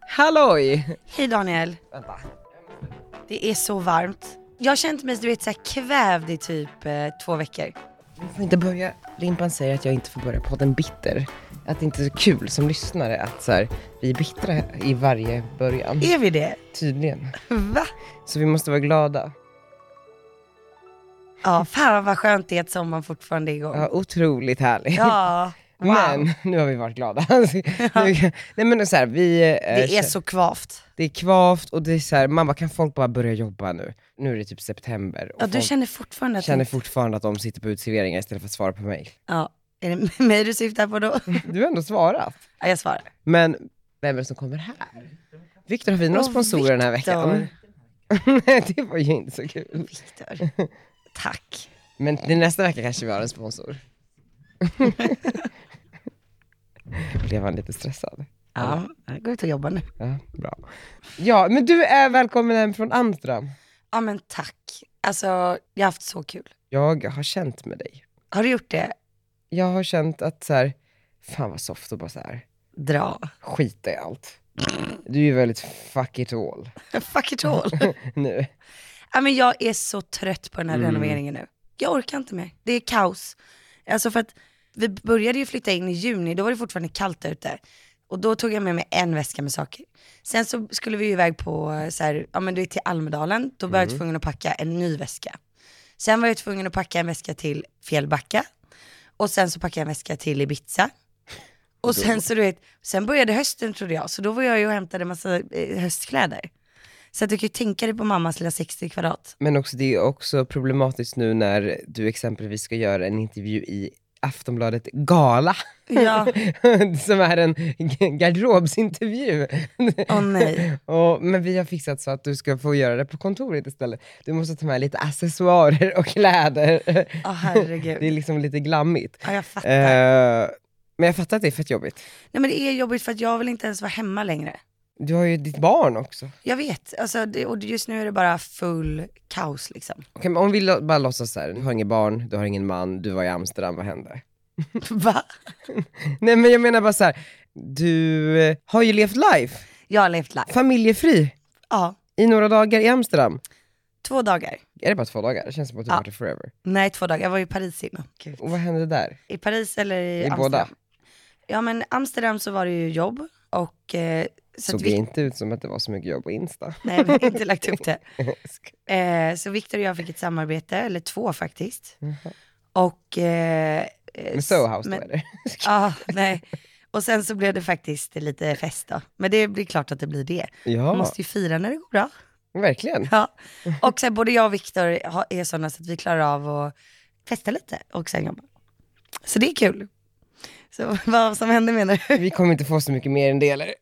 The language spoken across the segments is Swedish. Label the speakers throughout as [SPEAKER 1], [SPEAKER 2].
[SPEAKER 1] Halloj!
[SPEAKER 2] Hej Daniel,
[SPEAKER 1] Vänta.
[SPEAKER 2] det är så varmt. Jag har känt mig du vet, så här kvävd i typ eh, två veckor.
[SPEAKER 1] Vi får inte börja. Limpan säger att jag inte får börja podden bitter. Att det inte är så kul som lyssnare att så här, vi är bittra i varje början.
[SPEAKER 2] Är vi det?
[SPEAKER 1] Tydligen.
[SPEAKER 2] Va?
[SPEAKER 1] Så vi måste vara glada.
[SPEAKER 2] Ja, fan vad skönt det är att sommaren fortfarande är igång.
[SPEAKER 1] Ja, otroligt härligt.
[SPEAKER 2] Ja, wow.
[SPEAKER 1] Men nu har vi varit glada. nu, nej men så här, vi... eh,
[SPEAKER 2] Det är så kvavt.
[SPEAKER 1] det är kvavt och det är så här, man bara kan folk bara börja jobba nu? Nu är det typ september och
[SPEAKER 2] Ja, du
[SPEAKER 1] folk
[SPEAKER 2] känner fortfarande att...
[SPEAKER 1] känner fortfarande att de sitter på uteserveringar istället för att svara på mejl.
[SPEAKER 2] Ja, är det mig du syftar på då?
[SPEAKER 1] Du har ändå svarat.
[SPEAKER 2] Ja, jag svarar.
[SPEAKER 1] Men vem är det som kommer här? Viktor, har vi några
[SPEAKER 2] Åh,
[SPEAKER 1] sponsorer den här
[SPEAKER 2] Viktor.
[SPEAKER 1] veckan? Nej, det var ju inte så kul.
[SPEAKER 2] Viktor. Tack.
[SPEAKER 1] Men till nästa vecka kanske vi har en sponsor. Blev han lite stressad?
[SPEAKER 2] Ja, jag går ut och jobbar nu.
[SPEAKER 1] Ja, bra. Ja, men du är välkommen hem från Amsterdam.
[SPEAKER 2] Ja, men tack. Alltså, jag har haft så kul.
[SPEAKER 1] Jag har känt med dig.
[SPEAKER 2] Har du gjort det?
[SPEAKER 1] Jag har känt att så här, fan vad soft och bara så här,
[SPEAKER 2] Dra.
[SPEAKER 1] skita i allt. Du är ju väldigt fuck it all
[SPEAKER 2] Fuck it all.
[SPEAKER 1] nu.
[SPEAKER 2] Ja, men jag är så trött på den här
[SPEAKER 1] Mm.
[SPEAKER 2] renoveringen nu. Jag orkar inte mer. Det är kaos. Alltså för att vi började ju flytta in i juni, då var det fortfarande kallt ute. Och då tog jag med mig en väska med saker. Sen så skulle vi ju iväg på, eh, så här, ja men du är till Almedalen, då var jag tvungen att packa en ny väska. Sen var jag tvungen att packa en väska till Fjällbacka. Och sen så packade jag en väska till Ibiza. Och sen så du vet, sen började hösten trodde jag, så då var jag ju och hämtade massa eh, höstkläder. Så att du kan ju tänka dig på mammas lilla 60 kvadrat.
[SPEAKER 1] Men också, det är också problematiskt nu när du exempelvis ska göra en intervju i Aftonbladet Gala,
[SPEAKER 2] Ja,
[SPEAKER 1] som är en garderobsintervju.
[SPEAKER 2] åh nej.
[SPEAKER 1] Och, men vi har fixat så att du ska få göra det på kontoret istället. Du måste ta med lite accessoarer och kläder.
[SPEAKER 2] Åh
[SPEAKER 1] Det är
[SPEAKER 2] herregud.
[SPEAKER 1] liksom lite glammigt.
[SPEAKER 2] Ja, jag fattar.
[SPEAKER 1] Eh, men jag fattar att det är fett jobbigt.
[SPEAKER 2] Nej men det är jobbigt för att jag vill inte ens vara hemma längre.
[SPEAKER 1] Du har ju ditt barn också.
[SPEAKER 2] Jag vet, alltså, det, och just nu är det bara full kaos liksom.
[SPEAKER 1] Okej, men om vi lo- bara låtsas såhär, du har inget barn, du har ingen man, du var i Amsterdam, vad hände?
[SPEAKER 2] Va?
[SPEAKER 1] Nej men jag menar bara så här. du eh, har ju levt life,
[SPEAKER 2] Jag har levt life.
[SPEAKER 1] familjefri,
[SPEAKER 2] Ja,
[SPEAKER 1] i några dagar i Amsterdam.
[SPEAKER 2] två dagar.
[SPEAKER 1] Är det bara två dagar? Det känns som att du har
[SPEAKER 2] Ja.
[SPEAKER 1] varit där forever.
[SPEAKER 2] Nej, två dagar. Jag var i Paris innan.
[SPEAKER 1] Och vad hände där?
[SPEAKER 2] I Paris eller i,
[SPEAKER 1] I
[SPEAKER 2] Amsterdam?
[SPEAKER 1] båda?
[SPEAKER 2] Ja men Amsterdam så var det ju jobb och eh, så
[SPEAKER 1] Såg
[SPEAKER 2] att
[SPEAKER 1] det
[SPEAKER 2] vi,
[SPEAKER 1] inte ut som att det var så mycket jobb på Insta?
[SPEAKER 2] nej, vi har inte lagt upp det. Eh, så Victor och jag fick ett samarbete, eller två faktiskt. Och... Eh, eh,
[SPEAKER 1] Med Soho House då
[SPEAKER 2] men-
[SPEAKER 1] eller?
[SPEAKER 2] Ja, nej. Och sen så blev det faktiskt lite fest då. Men det blir klart att det blir det. Man
[SPEAKER 1] Ja,
[SPEAKER 2] måste ju fira när det går bra.
[SPEAKER 1] verkligen.
[SPEAKER 2] Ja. Och sen både jag och Viktor har- är sådana så att vi klarar av att festa lite och sen jobba. Så det är kul. Så vad som hände menar du?
[SPEAKER 1] Vi kommer inte få så mycket mer än det eller?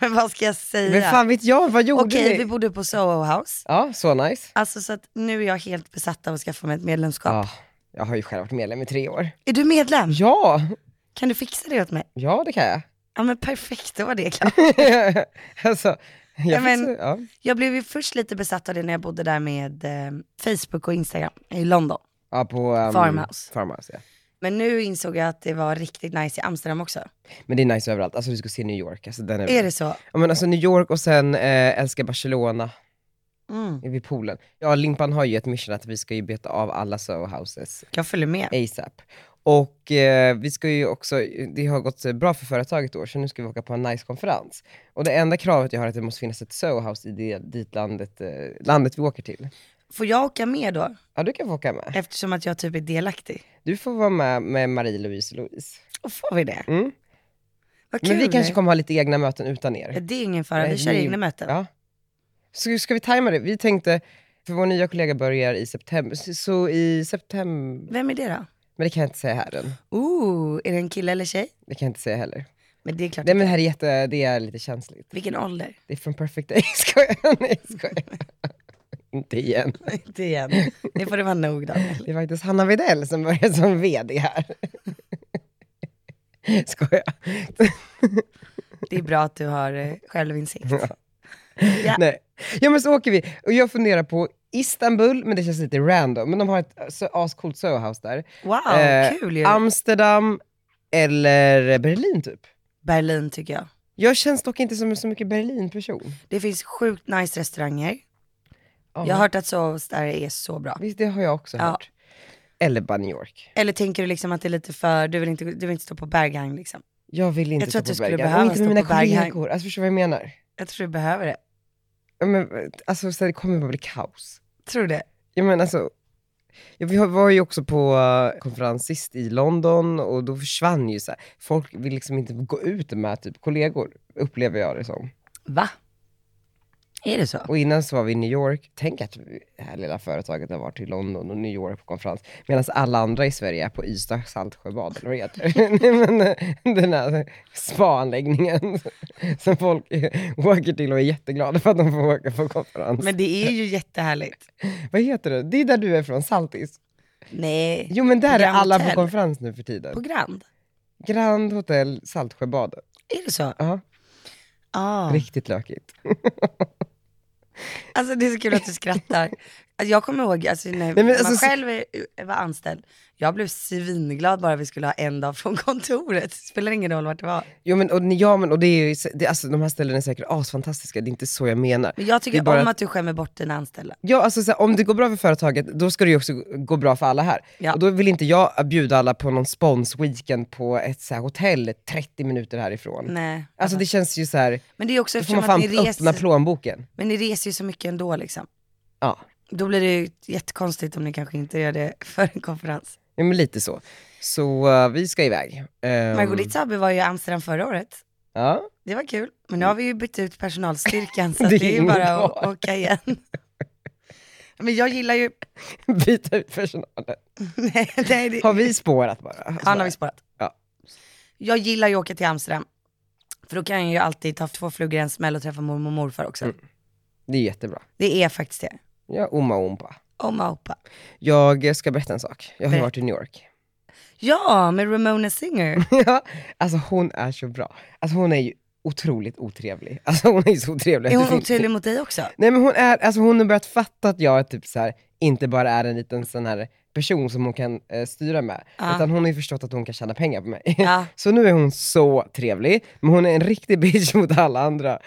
[SPEAKER 2] Men vad ska jag säga?
[SPEAKER 1] Men fan vet jag, vad gjorde
[SPEAKER 2] Okej, vi
[SPEAKER 1] ni?
[SPEAKER 2] bodde på Soho House.
[SPEAKER 1] Ja, så nice.
[SPEAKER 2] Alltså så att nu är jag helt besatt av att skaffa mig ett medlemskap.
[SPEAKER 1] Ja, jag har ju själv varit medlem i tre år.
[SPEAKER 2] Är du medlem?
[SPEAKER 1] Ja,
[SPEAKER 2] Kan du fixa det åt mig?
[SPEAKER 1] ja det kan jag.
[SPEAKER 2] Ja men perfekt, då var det klart.
[SPEAKER 1] alltså, jag
[SPEAKER 2] Ja, men-
[SPEAKER 1] fixar- ja.
[SPEAKER 2] Jag blev ju först lite besatt av det när jag bodde där med eh, Facebook och Instagram i London.
[SPEAKER 1] ja, på ehm,
[SPEAKER 2] Farmhouse.
[SPEAKER 1] Farmhouse ja.
[SPEAKER 2] Men nu insåg jag att det var riktigt nice i Amsterdam också.
[SPEAKER 1] Men det är nice överallt. Alltså du ska se New York. Alltså, den är...
[SPEAKER 2] Är det så?
[SPEAKER 1] Ja, men alltså New York och sen eh, älskar Barcelona
[SPEAKER 2] Mm.
[SPEAKER 1] vid poolen. Ja, Limpan har ju ett mission att vi ska ju beta av alla Soho houses
[SPEAKER 2] Jag följer med.
[SPEAKER 1] ASAP. Och eh, vi ska ju också, det har gått bra för företaget i år, så nu ska vi åka på en nice konferens. Och det enda kravet jag har är att det måste finnas ett Soho house i det, dit landet, eh, landet vi åker till.
[SPEAKER 2] Får jag åka med då?
[SPEAKER 1] Ja, du kan få åka med.
[SPEAKER 2] Eftersom att jag typ är delaktig.
[SPEAKER 1] Du får vara med med Marie-Louise och Louise.
[SPEAKER 2] Och får vi det?
[SPEAKER 1] Mm.
[SPEAKER 2] Vad kul.
[SPEAKER 1] Men vi kanske kommer ha lite egna möten utan er.
[SPEAKER 2] Det är ingen fara,
[SPEAKER 1] Nej,
[SPEAKER 2] vi kör
[SPEAKER 1] det är-
[SPEAKER 2] egna möten.
[SPEAKER 1] Ja. Så ska vi tajma det? Vi tänkte, för vår nya kollega börjar i september, så- så i september,
[SPEAKER 2] Vem är det då?
[SPEAKER 1] men det kan jag inte säga här än.
[SPEAKER 2] Ooh, är det en kille eller tjej?
[SPEAKER 1] Det kan jag inte säga heller.
[SPEAKER 2] Men det är klart.
[SPEAKER 1] Nej men det här är, jätte, det är lite känsligt.
[SPEAKER 2] Vilken ålder?
[SPEAKER 1] Det är från Perfect Day, skojar, nej skojar. Inte igen.
[SPEAKER 2] Inte igen. Nu får det vara nog Daniel.
[SPEAKER 1] Det är faktiskt Hanna Widell som börjar som VD här. Skojar.
[SPEAKER 2] Det är bra att du har eh, självinsikt. Ja.
[SPEAKER 1] Nej. Ja men så åker vi, och jag funderar på Istanbul, men det känns lite random, men de har ett så ascoolt Soho House där.
[SPEAKER 2] Wow,
[SPEAKER 1] Eh,
[SPEAKER 2] kul ju.
[SPEAKER 1] Amsterdam eller Berlin typ.
[SPEAKER 2] Berlin tycker jag.
[SPEAKER 1] Jag känns dock inte som en så mycket Berlin-person.
[SPEAKER 2] Det finns sjukt nice restauranger.
[SPEAKER 1] Ja.
[SPEAKER 2] Jag har hört att Sovs där är så bra.
[SPEAKER 1] Visst, det har jag också
[SPEAKER 2] Ja.
[SPEAKER 1] hört. Eller bara New York.
[SPEAKER 2] Eller tänker du liksom att det är lite för, du vill inte, du vill inte stå på Berghain liksom?
[SPEAKER 1] Jag vill inte
[SPEAKER 2] tror
[SPEAKER 1] stå
[SPEAKER 2] att
[SPEAKER 1] på
[SPEAKER 2] du skulle
[SPEAKER 1] Berghain.
[SPEAKER 2] behöva
[SPEAKER 1] Och inte
[SPEAKER 2] stå
[SPEAKER 1] med mina
[SPEAKER 2] på Berghain.
[SPEAKER 1] kollegor. Alltså förstår du vad jag menar?
[SPEAKER 2] Jag tror du behöver det.
[SPEAKER 1] Ja, Men, alltså så här, det kommer bara bli kaos.
[SPEAKER 2] Tror du det?
[SPEAKER 1] Ja men alltså, ja, vi har- var ju också på eh, konferens sist i London och då försvann ju så här. folk vill liksom inte gå ut med typ kollegor, upplever jag det som.
[SPEAKER 2] Va? Är det så?
[SPEAKER 1] Och innan så var vi i New York, tänk att vi- det här lilla företaget har varit i London och New York på konferens, medan alla andra i Sverige är på Ystad Saltsjöbad, eller vad det heter Nej, men, eh, Den här spaanläggningen som folk eh, åker till och är jätteglada för att de får åka på konferens.
[SPEAKER 2] Men det är ju jättehärligt.
[SPEAKER 1] Vad heter det? Det är där du är från, Saltis.
[SPEAKER 2] Nej.
[SPEAKER 1] Jo men där är
[SPEAKER 2] Grand
[SPEAKER 1] alla på
[SPEAKER 2] Hotel.
[SPEAKER 1] konferens nu för tiden.
[SPEAKER 2] På Grand?
[SPEAKER 1] Grand Hotel Saltsjöbadet.
[SPEAKER 2] Är det så?
[SPEAKER 1] Ja,
[SPEAKER 2] Ah.
[SPEAKER 1] Riktigt lökigt.
[SPEAKER 2] Alltså det är så kul att du skrattar. Alltså, jag kommer ihåg alltså, när
[SPEAKER 1] men
[SPEAKER 2] man
[SPEAKER 1] alltså, så-
[SPEAKER 2] själv är- eh, var anställd, jag blev svinglad bara vi skulle ha en dag från kontoret. Spelar ingen roll vart det var.
[SPEAKER 1] Jo men, och, ja, men och det är ju, det, alltså, de här ställena är säkert asfantastiska, det är inte så jag menar.
[SPEAKER 2] Men jag
[SPEAKER 1] Det är
[SPEAKER 2] tycker
[SPEAKER 1] bara
[SPEAKER 2] om
[SPEAKER 1] att-
[SPEAKER 2] att du skämmer bort dina anställda.
[SPEAKER 1] Ja, alltså, så här, om det går bra för företaget, då ska det ju också gå bra för alla här.
[SPEAKER 2] Ja.
[SPEAKER 1] Och då vill inte jag bjuda alla på någon sponsweekend på ett så här, hotell 30 minuter härifrån.
[SPEAKER 2] Nej.
[SPEAKER 1] Alltså det känns ju så här,
[SPEAKER 2] Men det är också
[SPEAKER 1] då får
[SPEAKER 2] eftersom
[SPEAKER 1] man
[SPEAKER 2] att
[SPEAKER 1] fan
[SPEAKER 2] ni
[SPEAKER 1] öppna
[SPEAKER 2] reser,
[SPEAKER 1] plånboken.
[SPEAKER 2] men ni reser ju så mycket ändå liksom.
[SPEAKER 1] Ja.
[SPEAKER 2] Då blir det ju jättekonstigt om ni kanske inte gör det för en konferens.
[SPEAKER 1] ja, men lite så. Så eh, vi ska iväg. Um,
[SPEAKER 2] Margolits AB var ju i Amsterdam förra året.
[SPEAKER 1] Ja,
[SPEAKER 2] Det var kul. Men nu har vi ju bytt ut personalstyrkan så
[SPEAKER 1] Det
[SPEAKER 2] det,
[SPEAKER 1] är
[SPEAKER 2] det är ju
[SPEAKER 1] ingen
[SPEAKER 2] bara att
[SPEAKER 1] kvar.
[SPEAKER 2] åka igen. Men jag gillar ju,
[SPEAKER 1] byta ut personalen.
[SPEAKER 2] nej, nej, det,
[SPEAKER 1] Har vi spårat bara?
[SPEAKER 2] Ja, nu har vi spårat.
[SPEAKER 1] Ja.
[SPEAKER 2] Jag gillar ju att åka till Amsterdam. För då kan jag ju alltid ta två flugor i en smäll och träffa mormor och morfar också.
[SPEAKER 1] Mm. Det är jättebra.
[SPEAKER 2] Det är faktiskt det.
[SPEAKER 1] Ja, Oma och Ompa.
[SPEAKER 2] Oma Opa.
[SPEAKER 1] Jag ska berätta en sak. Jag har ju
[SPEAKER 2] Berätta.
[SPEAKER 1] varit i New York.
[SPEAKER 2] Ja, med Ramona Singer.
[SPEAKER 1] ja, alltså hon är så bra. Alltså hon är ju otroligt otrevlig. Alltså hon är ju så otrevlig.
[SPEAKER 2] Är
[SPEAKER 1] att det
[SPEAKER 2] hon
[SPEAKER 1] finns-
[SPEAKER 2] otrevlig mot dig också?
[SPEAKER 1] Nej men hon är, alltså hon har börjat fatta att jag är typ så här, inte bara är en liten sån här person som hon kan eh, styra med.
[SPEAKER 2] Ja.
[SPEAKER 1] Utan hon har ju förstått att hon kan tjäna pengar på mig.
[SPEAKER 2] Ja.
[SPEAKER 1] Så nu är hon så trevlig, men hon är en riktig bitch mot alla andra.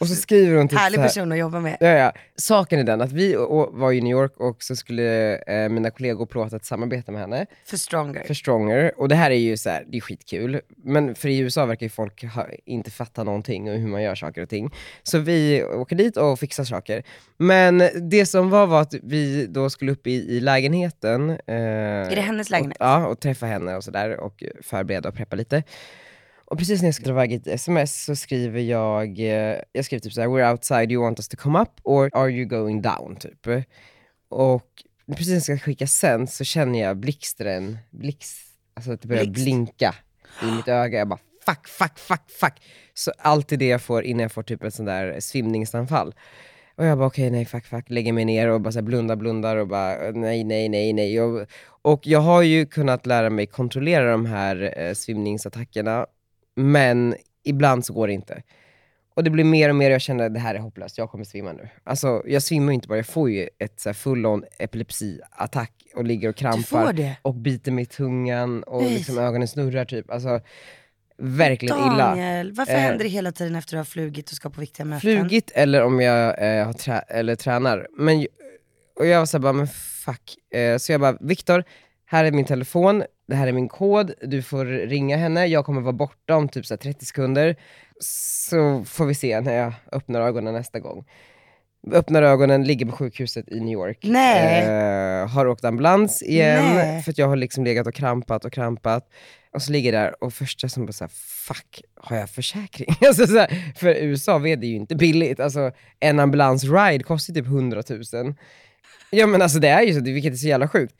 [SPEAKER 1] Och så skriver hon typ
[SPEAKER 2] Härlig
[SPEAKER 1] så här,
[SPEAKER 2] person att jobba med.
[SPEAKER 1] Ja, ja. Saken är den att vi å- å- var i New York och så skulle eh, mina kollegor plåta ett samarbete med henne
[SPEAKER 2] För stronger.
[SPEAKER 1] för Stronger. Och det här är ju så här, det är skitkul. Men för i USA verkar ju folk ha, inte fatta någonting och hur man gör saker och ting. Så vi åker dit och fixar saker. Men det som var var att vi då skulle upp i, i lägenheten. eh,
[SPEAKER 2] Är det hennes lägenhet?
[SPEAKER 1] Och, ja, och träffa henne och sådär och förbereda och preppa lite. Och precis när jag ska dra iväg ett sms så skriver jag, eh, jag skriver typ så här: “We're outside, you want us to come up or are you going down?” typ. Och precis när jag ska skicka sen så känner jag blixtren, blixt, alltså att det börjar
[SPEAKER 2] Blixt.
[SPEAKER 1] blinka i mitt öga. Jag bara fuck, fuck, fuck, fuck. Så alltid det jag får innan jag får typ ett sånt där svimningsanfall. Och jag bara okej, nej fuck, fuck, lägger mig ner och bara så här blundar, blundar och bara nej, nej, nej, nej. Och, och jag har ju kunnat lära mig kontrollera de här eh, svimningsattackerna, men ibland så går det inte. Och det blir mer och mer, jag känner det här är hopplöst, jag kommer svimma nu. Alltså jag svimmar ju inte bara, jag får ju ett så här full-on epilepsiattack och ligger och krampar
[SPEAKER 2] Du får det?
[SPEAKER 1] och biter mig i tungan och
[SPEAKER 2] Nej.
[SPEAKER 1] liksom ögonen snurrar typ. Alltså, verkligen illa.
[SPEAKER 2] Daniel, varför
[SPEAKER 1] Eh.
[SPEAKER 2] händer det hela tiden efter du har flugit och ska på viktiga möten?
[SPEAKER 1] Flugit eller om jag eh, har trä- eller tränar. Men, ju- och jag var såhär bara, men fuck. Eh, så jag bara, Viktor, här är min telefon, det här är min kod, du får ringa henne, jag kommer vara borta om typ så här 30 sekunder. Så får vi se när jag öppnar ögonen nästa gång. Öppnar ögonen, ligger på sjukhuset i New York.
[SPEAKER 2] Nej.
[SPEAKER 1] Eh, har åkt ambulans igen,
[SPEAKER 2] Nej.
[SPEAKER 1] för att jag har liksom legat och krampat och krampat. Och så ligger jag där och första som bara såhär, fuck, har jag försäkring? alltså så här, för USA vet det ju inte billigt. Alltså en ambulansride kostar typ 100 000. Ja men alltså det är ju så, det- vilket är så jävla sjukt.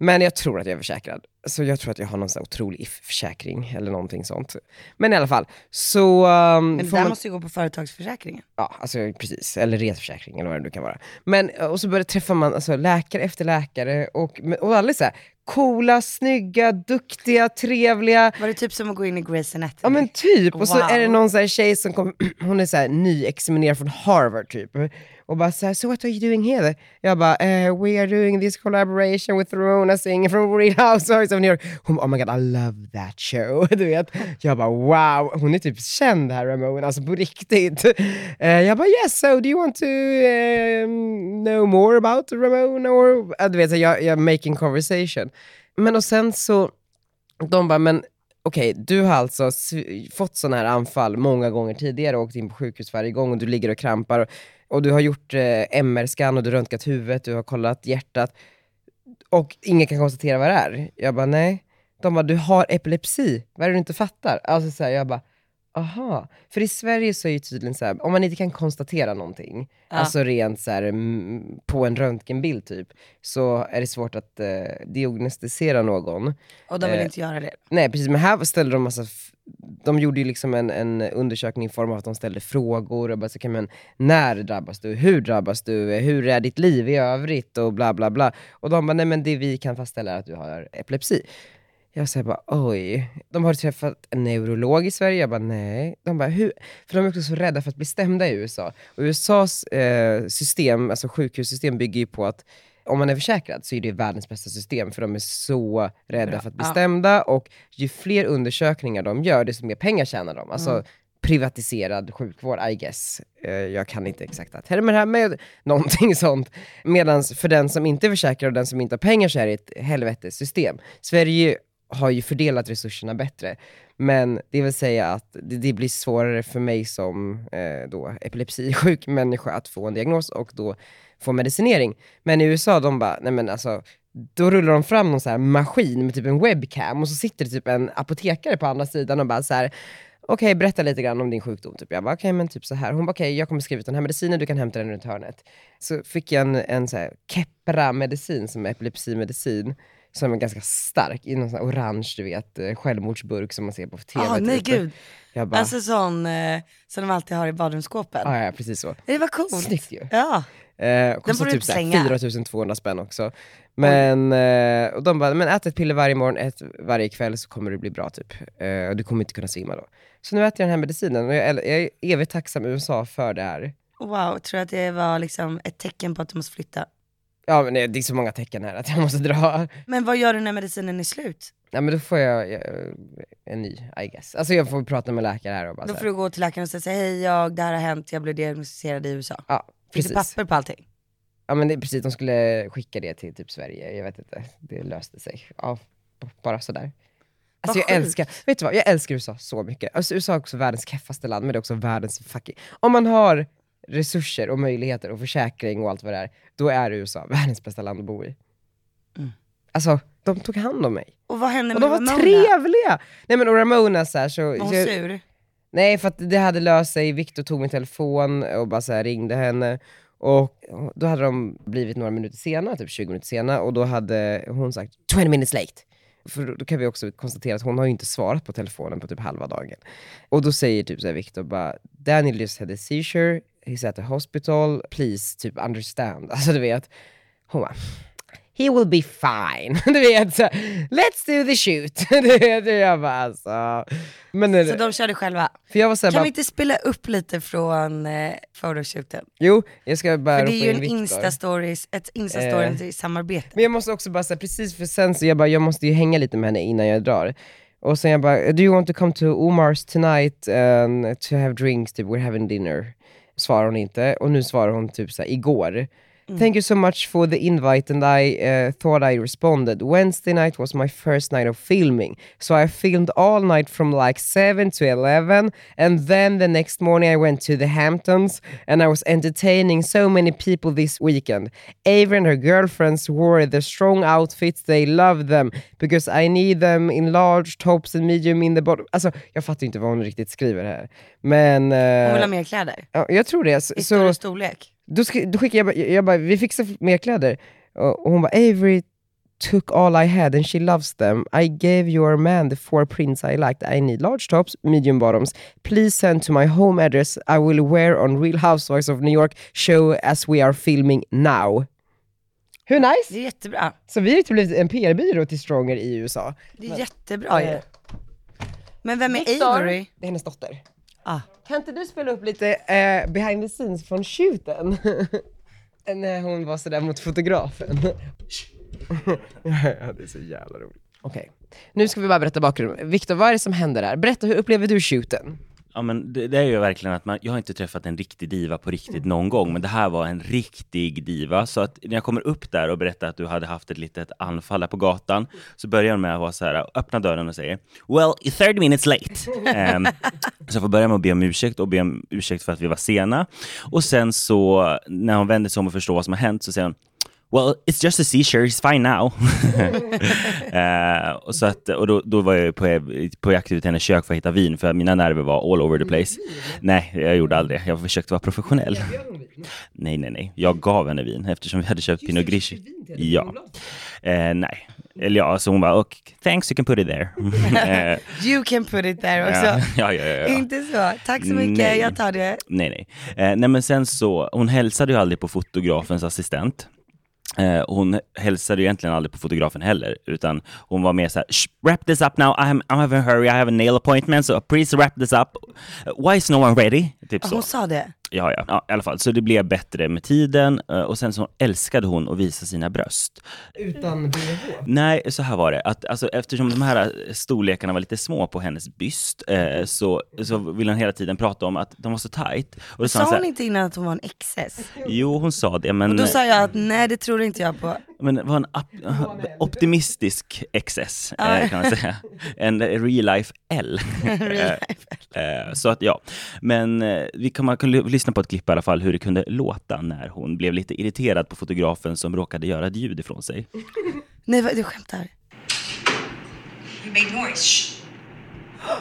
[SPEAKER 1] Men jag tror att jag är försäkrad. Så jag tror att jag har någon sån här otrolig if-försäkring eller någonting sånt. Men i alla fall, så... Um,
[SPEAKER 2] Men det
[SPEAKER 1] får
[SPEAKER 2] där
[SPEAKER 1] man-
[SPEAKER 2] måste ju gå på företagsförsäkringen.
[SPEAKER 1] ja, alltså, precis, eller resförsäkring eller vad det nu kan vara. Men, eh, och så börjar träffa man alltså, läkare efter läkare och, och alla är så här, coola, snygga, duktiga, trevliga.
[SPEAKER 2] Var det typ som att gå in i Grey's Anatomy?
[SPEAKER 1] Ja men typ, och så
[SPEAKER 2] Wow.
[SPEAKER 1] är det någon så här tjej som kom, hon är så här nyexaminerad från Harvard typ. Och bara så här, so what are you doing here? Jag bara, eh, we are doing this collaboration with Rona Singer from Real Housewives Times of New York. Hon bara, oh my god, I love that show. Du vet. Jag bara, wow, hon är typ känd här Ramon, alltså på riktigt. Eh, jag bara, yes, so do you want to eh, know more about Ramon? Or, Ja, du vet, så jag, jag making conversation. Men och sen så, de bara, men okej, du har alltså sv- fått sådana här anfall många gånger tidigare och åkt in på sjukhus varje gång och du ligger och krampar och, och du har gjort eh, MR-scan och du har röntgat huvudet, du har kollat hjärtat och ingen kan konstatera vad det är. Jag bara, nej. De bara, du har epilepsi, vad är det du inte fattar? Alltså så här, jag bara, aha. För i Sverige så är ju tydligen så här, om man inte kan konstatera någonting,
[SPEAKER 2] Ja.
[SPEAKER 1] alltså rent så här, mm, på en röntgenbild typ, så är det svårt att eh, diagnostisera någon.
[SPEAKER 2] Och de vill
[SPEAKER 1] Eh,
[SPEAKER 2] inte göra det.
[SPEAKER 1] Nej precis, men här ställde de massa, f- de gjorde ju liksom en, en undersökning i form av att de ställde frågor och bara så kan man, när drabbas du? Hur drabbas du? Hur är ditt liv i övrigt? Och bla bla bla. Och de bara, nej men det vi kan fastställa är att du har epilepsi. Jag säger bara, oj. De har träffat en neurolog i Sverige. Jag bara, nej. De bara, hur? För de är också så rädda för att bli stämda i USA. Och USAs eh, system, alltså sjukhussystem, bygger ju på att om man är försäkrad så är det världens bästa system, för de är så rädda för att bli
[SPEAKER 2] Ja.
[SPEAKER 1] stämda. Och ju fler undersökningar de gör, desto mer pengar tjänar de. Alltså privatiserad sjukvård, I guess. Eh, jag kan inte exakta termer här, men någonting sånt. Medan för den som inte är försäkrad och den som inte har pengar så är det ett helvetes system. Sverige har ju fördelat resurserna bättre. Men det vill säga att det, det blir svårare för mig som eh, då epilepsisjuk människa att få en diagnos och då få medicinering. Men i USA, de bara, nej men alltså, då rullar de fram någon så här maskin med typ en webcam och så sitter det typ en apotekare på andra sidan och bara så här. Okej, berätta lite grann om din sjukdom. Typ. Jag bara, okej men typ så här. Hon bara, okej jag kommer skriva ut den här medicinen, du kan hämta den runt hörnet. Så fick jag en, en så här Keppra-medicin som är epilepsimedicin, som är ganska stark, i någon sån här orange, du vet, eh, självmordsburk som man ser på tv.
[SPEAKER 2] Ja, Ah, nej
[SPEAKER 1] typ.
[SPEAKER 2] gud.
[SPEAKER 1] Jag bara,
[SPEAKER 2] Alltså sån eh, som de alltid har i badrumsskåpen.
[SPEAKER 1] ja, ja precis så.
[SPEAKER 2] Det var coolt.
[SPEAKER 1] Snyggt ju.
[SPEAKER 2] Ja.
[SPEAKER 1] Eh, kostar
[SPEAKER 2] får du
[SPEAKER 1] typ
[SPEAKER 2] inte
[SPEAKER 1] såhär
[SPEAKER 2] slänga.
[SPEAKER 1] 4200 spänn också. Men, eh, och de bara, men ät ett piller varje morgon, ett varje kväll så kommer du bli bra typ. Eh, och du kommer inte kunna svimma då. Så nu äter jag den här medicinen och jag, är- jag är evigt tacksam USA för det här.
[SPEAKER 2] Wow, tror jag att det var liksom ett tecken på att du måste flytta.
[SPEAKER 1] Ja men det det är så många tecken här att jag måste dra.
[SPEAKER 2] Men vad gör du när medicinen är slut?
[SPEAKER 1] Ja men då får jag, jag en ny I guess. Alltså jag får prata med läkare här och bara
[SPEAKER 2] Då
[SPEAKER 1] så
[SPEAKER 2] får
[SPEAKER 1] här,
[SPEAKER 2] du gå till läkaren och säga hej jag, det här har hänt, jag blev diagnostiserad i USA.
[SPEAKER 1] Ja,
[SPEAKER 2] Finns det
[SPEAKER 1] precis.
[SPEAKER 2] papper på allting?
[SPEAKER 1] Ja men det, precis, de skulle skicka det till typ Sverige, jag vet inte. Det löste sig. Ja, b- bara sådär. Alltså
[SPEAKER 2] Vad
[SPEAKER 1] jag älskar, vet du vad? Jag älskar USA så mycket. Alltså USA är också världens keffaste land, men det är också världens fucking... Om man har resurser och möjligheter och försäkring och allt vad det är, då är USA världens bästa land att bo i.
[SPEAKER 2] Mm.
[SPEAKER 1] Alltså, de tog hand om mig.
[SPEAKER 2] Och vad hände
[SPEAKER 1] Och
[SPEAKER 2] med
[SPEAKER 1] de var
[SPEAKER 2] Ramona?
[SPEAKER 1] trevliga! Nej men och Ramona så här, så...
[SPEAKER 2] Var hon
[SPEAKER 1] så jag-
[SPEAKER 2] sur?
[SPEAKER 1] Nej, för att det hade löst sig. Victor tog min telefon och bara så här ringde henne. Och då hade de blivit några minuter sena, typ 20 minuter sena, och då hade hon sagt 20 minutes late. För då- då kan vi också konstatera att hon har ju inte svarat på telefonen på typ halva dagen. Och då säger typ så här Victor bara, Daniel just had a seizure, he's at the hospital, please typ understand. Alltså du vet. Hon bara, he will be fine. Du vet, så, här, let's do the shoot. Du vet, och jag bara alltså. Men,
[SPEAKER 2] Så de körde själva?
[SPEAKER 1] för jag var så här,
[SPEAKER 2] Kan
[SPEAKER 1] bara,
[SPEAKER 2] vi inte spela upp lite från eh, photoshooten?
[SPEAKER 1] Jo, jag ska bara
[SPEAKER 2] För det
[SPEAKER 1] ropa
[SPEAKER 2] är ju
[SPEAKER 1] in
[SPEAKER 2] en
[SPEAKER 1] Viktor.
[SPEAKER 2] instastories, ett
[SPEAKER 1] Eh.
[SPEAKER 2] instastories i samarbete.
[SPEAKER 1] Men jag måste också bara säga, precis för sen så jag bara, jag måste ju hänga lite med henne innan jag drar. Och sen jag bara, do you want to come to Omar's tonight and to have drinks, typ, we're having dinner? Svarar hon inte, och nu svarar hon typ såhär, igår.
[SPEAKER 2] Mm.
[SPEAKER 1] Thank you so much for the invite and I eh, thought I responded. Wednesday night was my first night of filming. So I filmed all night from like 7 to 11 and then the next morning I went to the Hamptons and I was entertaining so many people this weekend. Ava and her girlfriends wore the strong outfits, they love them because I need them in large tops and medium in the bottom. Alltså jag fattar inte vad hon riktigt skriver här. Men
[SPEAKER 2] Hon
[SPEAKER 1] eh,
[SPEAKER 2] vill ha mer kläder.
[SPEAKER 1] ja, jag tror det. Så,
[SPEAKER 2] I
[SPEAKER 1] så,
[SPEAKER 2] större storlek.
[SPEAKER 1] då, sk- då skickade jag, bara- jag bara, vi fixar mer kläder. Och och hon bara, Avery took all I had and she loves them. I gave your man the four prints I liked. I need large tops, medium bottoms. Please send to my home address I will wear on Real Housewives of New York show as we are filming now. Hur
[SPEAKER 2] Det
[SPEAKER 1] nice?
[SPEAKER 2] är jättebra.
[SPEAKER 1] Så vi har ju typ blivit en PR-byrå till Stronger i USA.
[SPEAKER 2] Det är jättebra ju.
[SPEAKER 1] Eh,
[SPEAKER 2] Men vem är
[SPEAKER 1] Victor?
[SPEAKER 2] Avery?
[SPEAKER 1] Det är hennes dotter.
[SPEAKER 2] Ah.
[SPEAKER 1] Kan inte du spela upp lite eh, behind the scenes från shooten? Eh, När hon var sådär mot fotografen. ja, det är så jävla roligt. Okej. Nu ska vi bara berätta bakgrunden. Viktor, vad är det som händer där? Berätta, hur upplever du shooten?
[SPEAKER 3] Ja, men det, det är ju verkligen att man, jag har inte träffat en riktig diva på riktigt någon gång, men det här var en riktig diva. Så att när jag kommer upp där och berättar att du hade haft ett litet anfall där på gatan, så börjar hon med att vara så här, öppna dörren och säger “Well, you're 30 minutes late”. Ehm, så jag får börja med att be om ursäkt och be om ursäkt för att vi var sena. Och sen så, när hon vänder sig om och förstår vad som har hänt, så säger hon Well, it's just a seizure, he's fine now. Eh, och så att, och då, då var jag på, på jakt ut i hennes kök för att hitta vin, för mina nerver var all over
[SPEAKER 2] Mm.
[SPEAKER 3] the place. Nej, jag gjorde aldrig det. Jag försökte vara professionell. Nej, nej, nej. Jag gav henne vin eftersom vi hade köpt Pinot Grigio. Ja. Eh, nej. Eller ja, så hon bara, och thanks you can put it there. Eh,
[SPEAKER 2] You can put it there också.
[SPEAKER 3] ja, ja, ja, ja, ja.
[SPEAKER 2] Inte så. Tack så mycket,
[SPEAKER 3] Nej.
[SPEAKER 2] jag tar det.
[SPEAKER 3] Nej, nej. Eh, nej, men sen så, hon hälsade ju aldrig på fotografens assistent. Eh, hon hälsade ju egentligen aldrig på fotografen heller, utan hon var mer så här, "Shh, wrap this up now, I'm, I'm having a hurry, I have a nail appointment, so please wrap this up. Why is no one ready? Typ så.
[SPEAKER 2] Hon sa det.
[SPEAKER 3] Ja, ja. ja, i alla fall. Så det blev bättre med tiden eh, och sen så älskade hon att visa sina bröst.
[SPEAKER 1] Utan BH?
[SPEAKER 3] Nej, så här var det. Att, alltså, eftersom de här eh, storlekarna var lite små på hennes byst eh, så, så ville hon hela tiden prata om att de var så tight. Och då sa
[SPEAKER 2] Sa
[SPEAKER 3] hon så
[SPEAKER 2] hon
[SPEAKER 3] här,
[SPEAKER 2] inte innan att hon var en XS?
[SPEAKER 3] jo hon sa det, men,
[SPEAKER 2] Då sa jag att nej det tror inte jag på.
[SPEAKER 3] men det var en ap- optimistisk excess eh, kan man säga. En real life L.
[SPEAKER 2] Real
[SPEAKER 3] Eh, Så att ja, men eh, vi kan, man kan ly- lyssna på ett klipp i alla fall hur det kunde låta när hon blev lite irriterad på fotografen som råkade göra ett ljud ifrån sig.
[SPEAKER 2] Nej vad- du skämtar.
[SPEAKER 4] You made noise. Shh.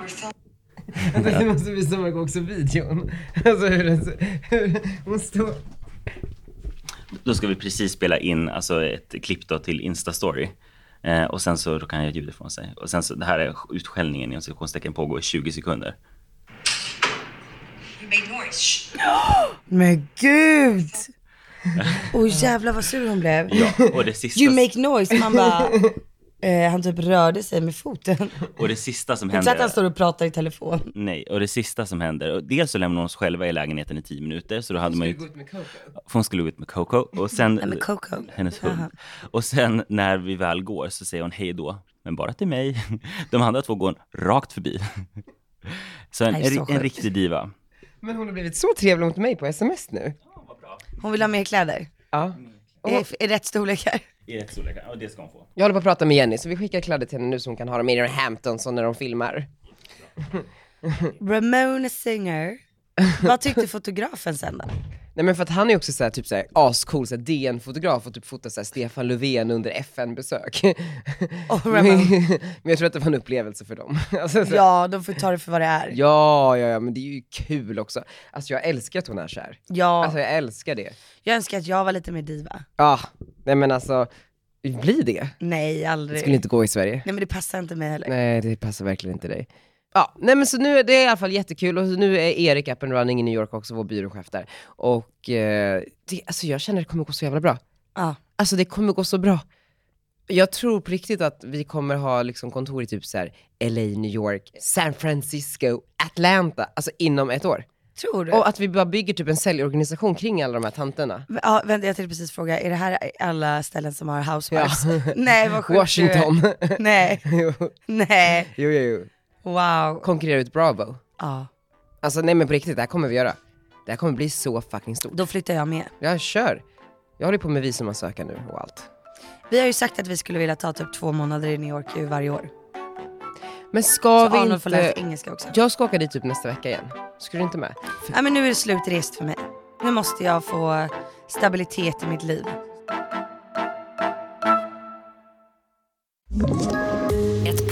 [SPEAKER 4] Our film
[SPEAKER 1] Vänta, du måste visa mig också videon. Alltså hur den ser- hur Hon står...
[SPEAKER 3] Då ska vi precis spela in alltså, ett klipp då till Instastory. Eh, och sen så då kan jag göra ett ljud ifrån sig. Och sen så, det här är utskällningen inom citationstecken pågår i 20 sekunder.
[SPEAKER 4] You made noise. Shh.
[SPEAKER 2] Men gud! Oj jävlar vad sur hon blev.
[SPEAKER 3] Ja, och det sista,
[SPEAKER 2] You make noise, man bara... Eh, han typ rörde sig med foten.
[SPEAKER 3] och det sista som
[SPEAKER 2] Så att han
[SPEAKER 3] händer...
[SPEAKER 2] står och pratar i telefon.
[SPEAKER 3] Nej, och det sista som händer, och dels så lämnar hon oss själva i lägenheten i 10 minuter, så då hade man ju... För hon skulle gå ut med Coco. Och sen...
[SPEAKER 2] Nej men Coco.
[SPEAKER 3] hennes hund.
[SPEAKER 2] Jaha.
[SPEAKER 3] Och sen när vi väl går så säger hon hej då, men bara till mig. De andra två går hon rakt förbi. Så en,
[SPEAKER 2] Nej, så
[SPEAKER 3] en, en
[SPEAKER 2] sjukt.
[SPEAKER 3] riktig diva.
[SPEAKER 1] Men hon har blivit så trevlig mot mig på sms nu.
[SPEAKER 2] Hon vill ha mer kläder.
[SPEAKER 1] Ja.
[SPEAKER 2] I, I rätt storlekar.
[SPEAKER 3] I rätt storlek, ja det ska hon få.
[SPEAKER 1] Jag håller på att prata med Jenny, så vi skickar kläder till henne nu så hon kan ha dem i den Hamptons och när de filmar.
[SPEAKER 2] Ramona Singer. Vad tyckte fotografen sen då?
[SPEAKER 1] Nej men för att han är också såhär, typ såhär ascool såhär DN-fotograf och typ fotar såhär Stefan Löfven under FN-besök.
[SPEAKER 2] Och
[SPEAKER 1] men,
[SPEAKER 2] Ramona.
[SPEAKER 1] men jag tror att det var en upplevelse för dem. Alltså, så-
[SPEAKER 2] Ja, de får ta det för vad det är.
[SPEAKER 1] ja, ja, ja, men det är ju kul också. Alltså jag älskar att hon är såhär.
[SPEAKER 2] Ja,
[SPEAKER 1] Alltså jag älskar det.
[SPEAKER 2] jag önskar att jag var lite mer diva.
[SPEAKER 1] Ja, nej men alltså, bli det.
[SPEAKER 2] Nej,
[SPEAKER 1] Det
[SPEAKER 2] aldrig.
[SPEAKER 1] skulle inte gå i Sverige.
[SPEAKER 2] Nej men det passar inte mig heller.
[SPEAKER 1] Nej, det passar verkligen inte dig. Ja, nej men så nu är det i alla fall jättekul och nu är Erik up and running i New York också, vår byråchef där. Och eh, det, alltså jag känner att det kommer gå så jävla bra.
[SPEAKER 2] Ja.
[SPEAKER 1] Alltså det kommer gå så bra. Jag tror på riktigt att vi kommer ha liksom kontor i typ så här LA, New York, San Francisco, Atlanta, alltså inom ett år.
[SPEAKER 2] Tror du?
[SPEAKER 1] Och att vi bara bygger typ en säljorganisation kring alla de här tanterna.
[SPEAKER 2] Men, Ja, vänta jag tänkte precis fråga, är det här alla ställen som har housewives? Nej vad sjukt du är.
[SPEAKER 1] Washington.
[SPEAKER 2] Nej,
[SPEAKER 1] jo,
[SPEAKER 2] nej,
[SPEAKER 1] jo, jo.
[SPEAKER 2] wow.
[SPEAKER 1] Konkurrera ut Bravo.
[SPEAKER 2] Ja,
[SPEAKER 1] Alltså nej men på riktigt, det här kommer vi göra. Det här kommer bli så fucking stort.
[SPEAKER 2] då flyttar jag med.
[SPEAKER 1] Jag kör. Jag håller på med visumansökan nu och allt.
[SPEAKER 2] Vi har ju sagt att vi skulle vilja ta typ två månader i New York ju varje år.
[SPEAKER 1] Men ska
[SPEAKER 2] Så
[SPEAKER 1] vi
[SPEAKER 2] Arnold får läsa
[SPEAKER 1] inte...
[SPEAKER 2] engelska också.
[SPEAKER 1] Jag ska åka dit typ nästa vecka igen. Ska du inte med?
[SPEAKER 2] Ja men nu är det slutrest för mig. Nu måste jag få stabilitet i mitt liv.
[SPEAKER 5] Ett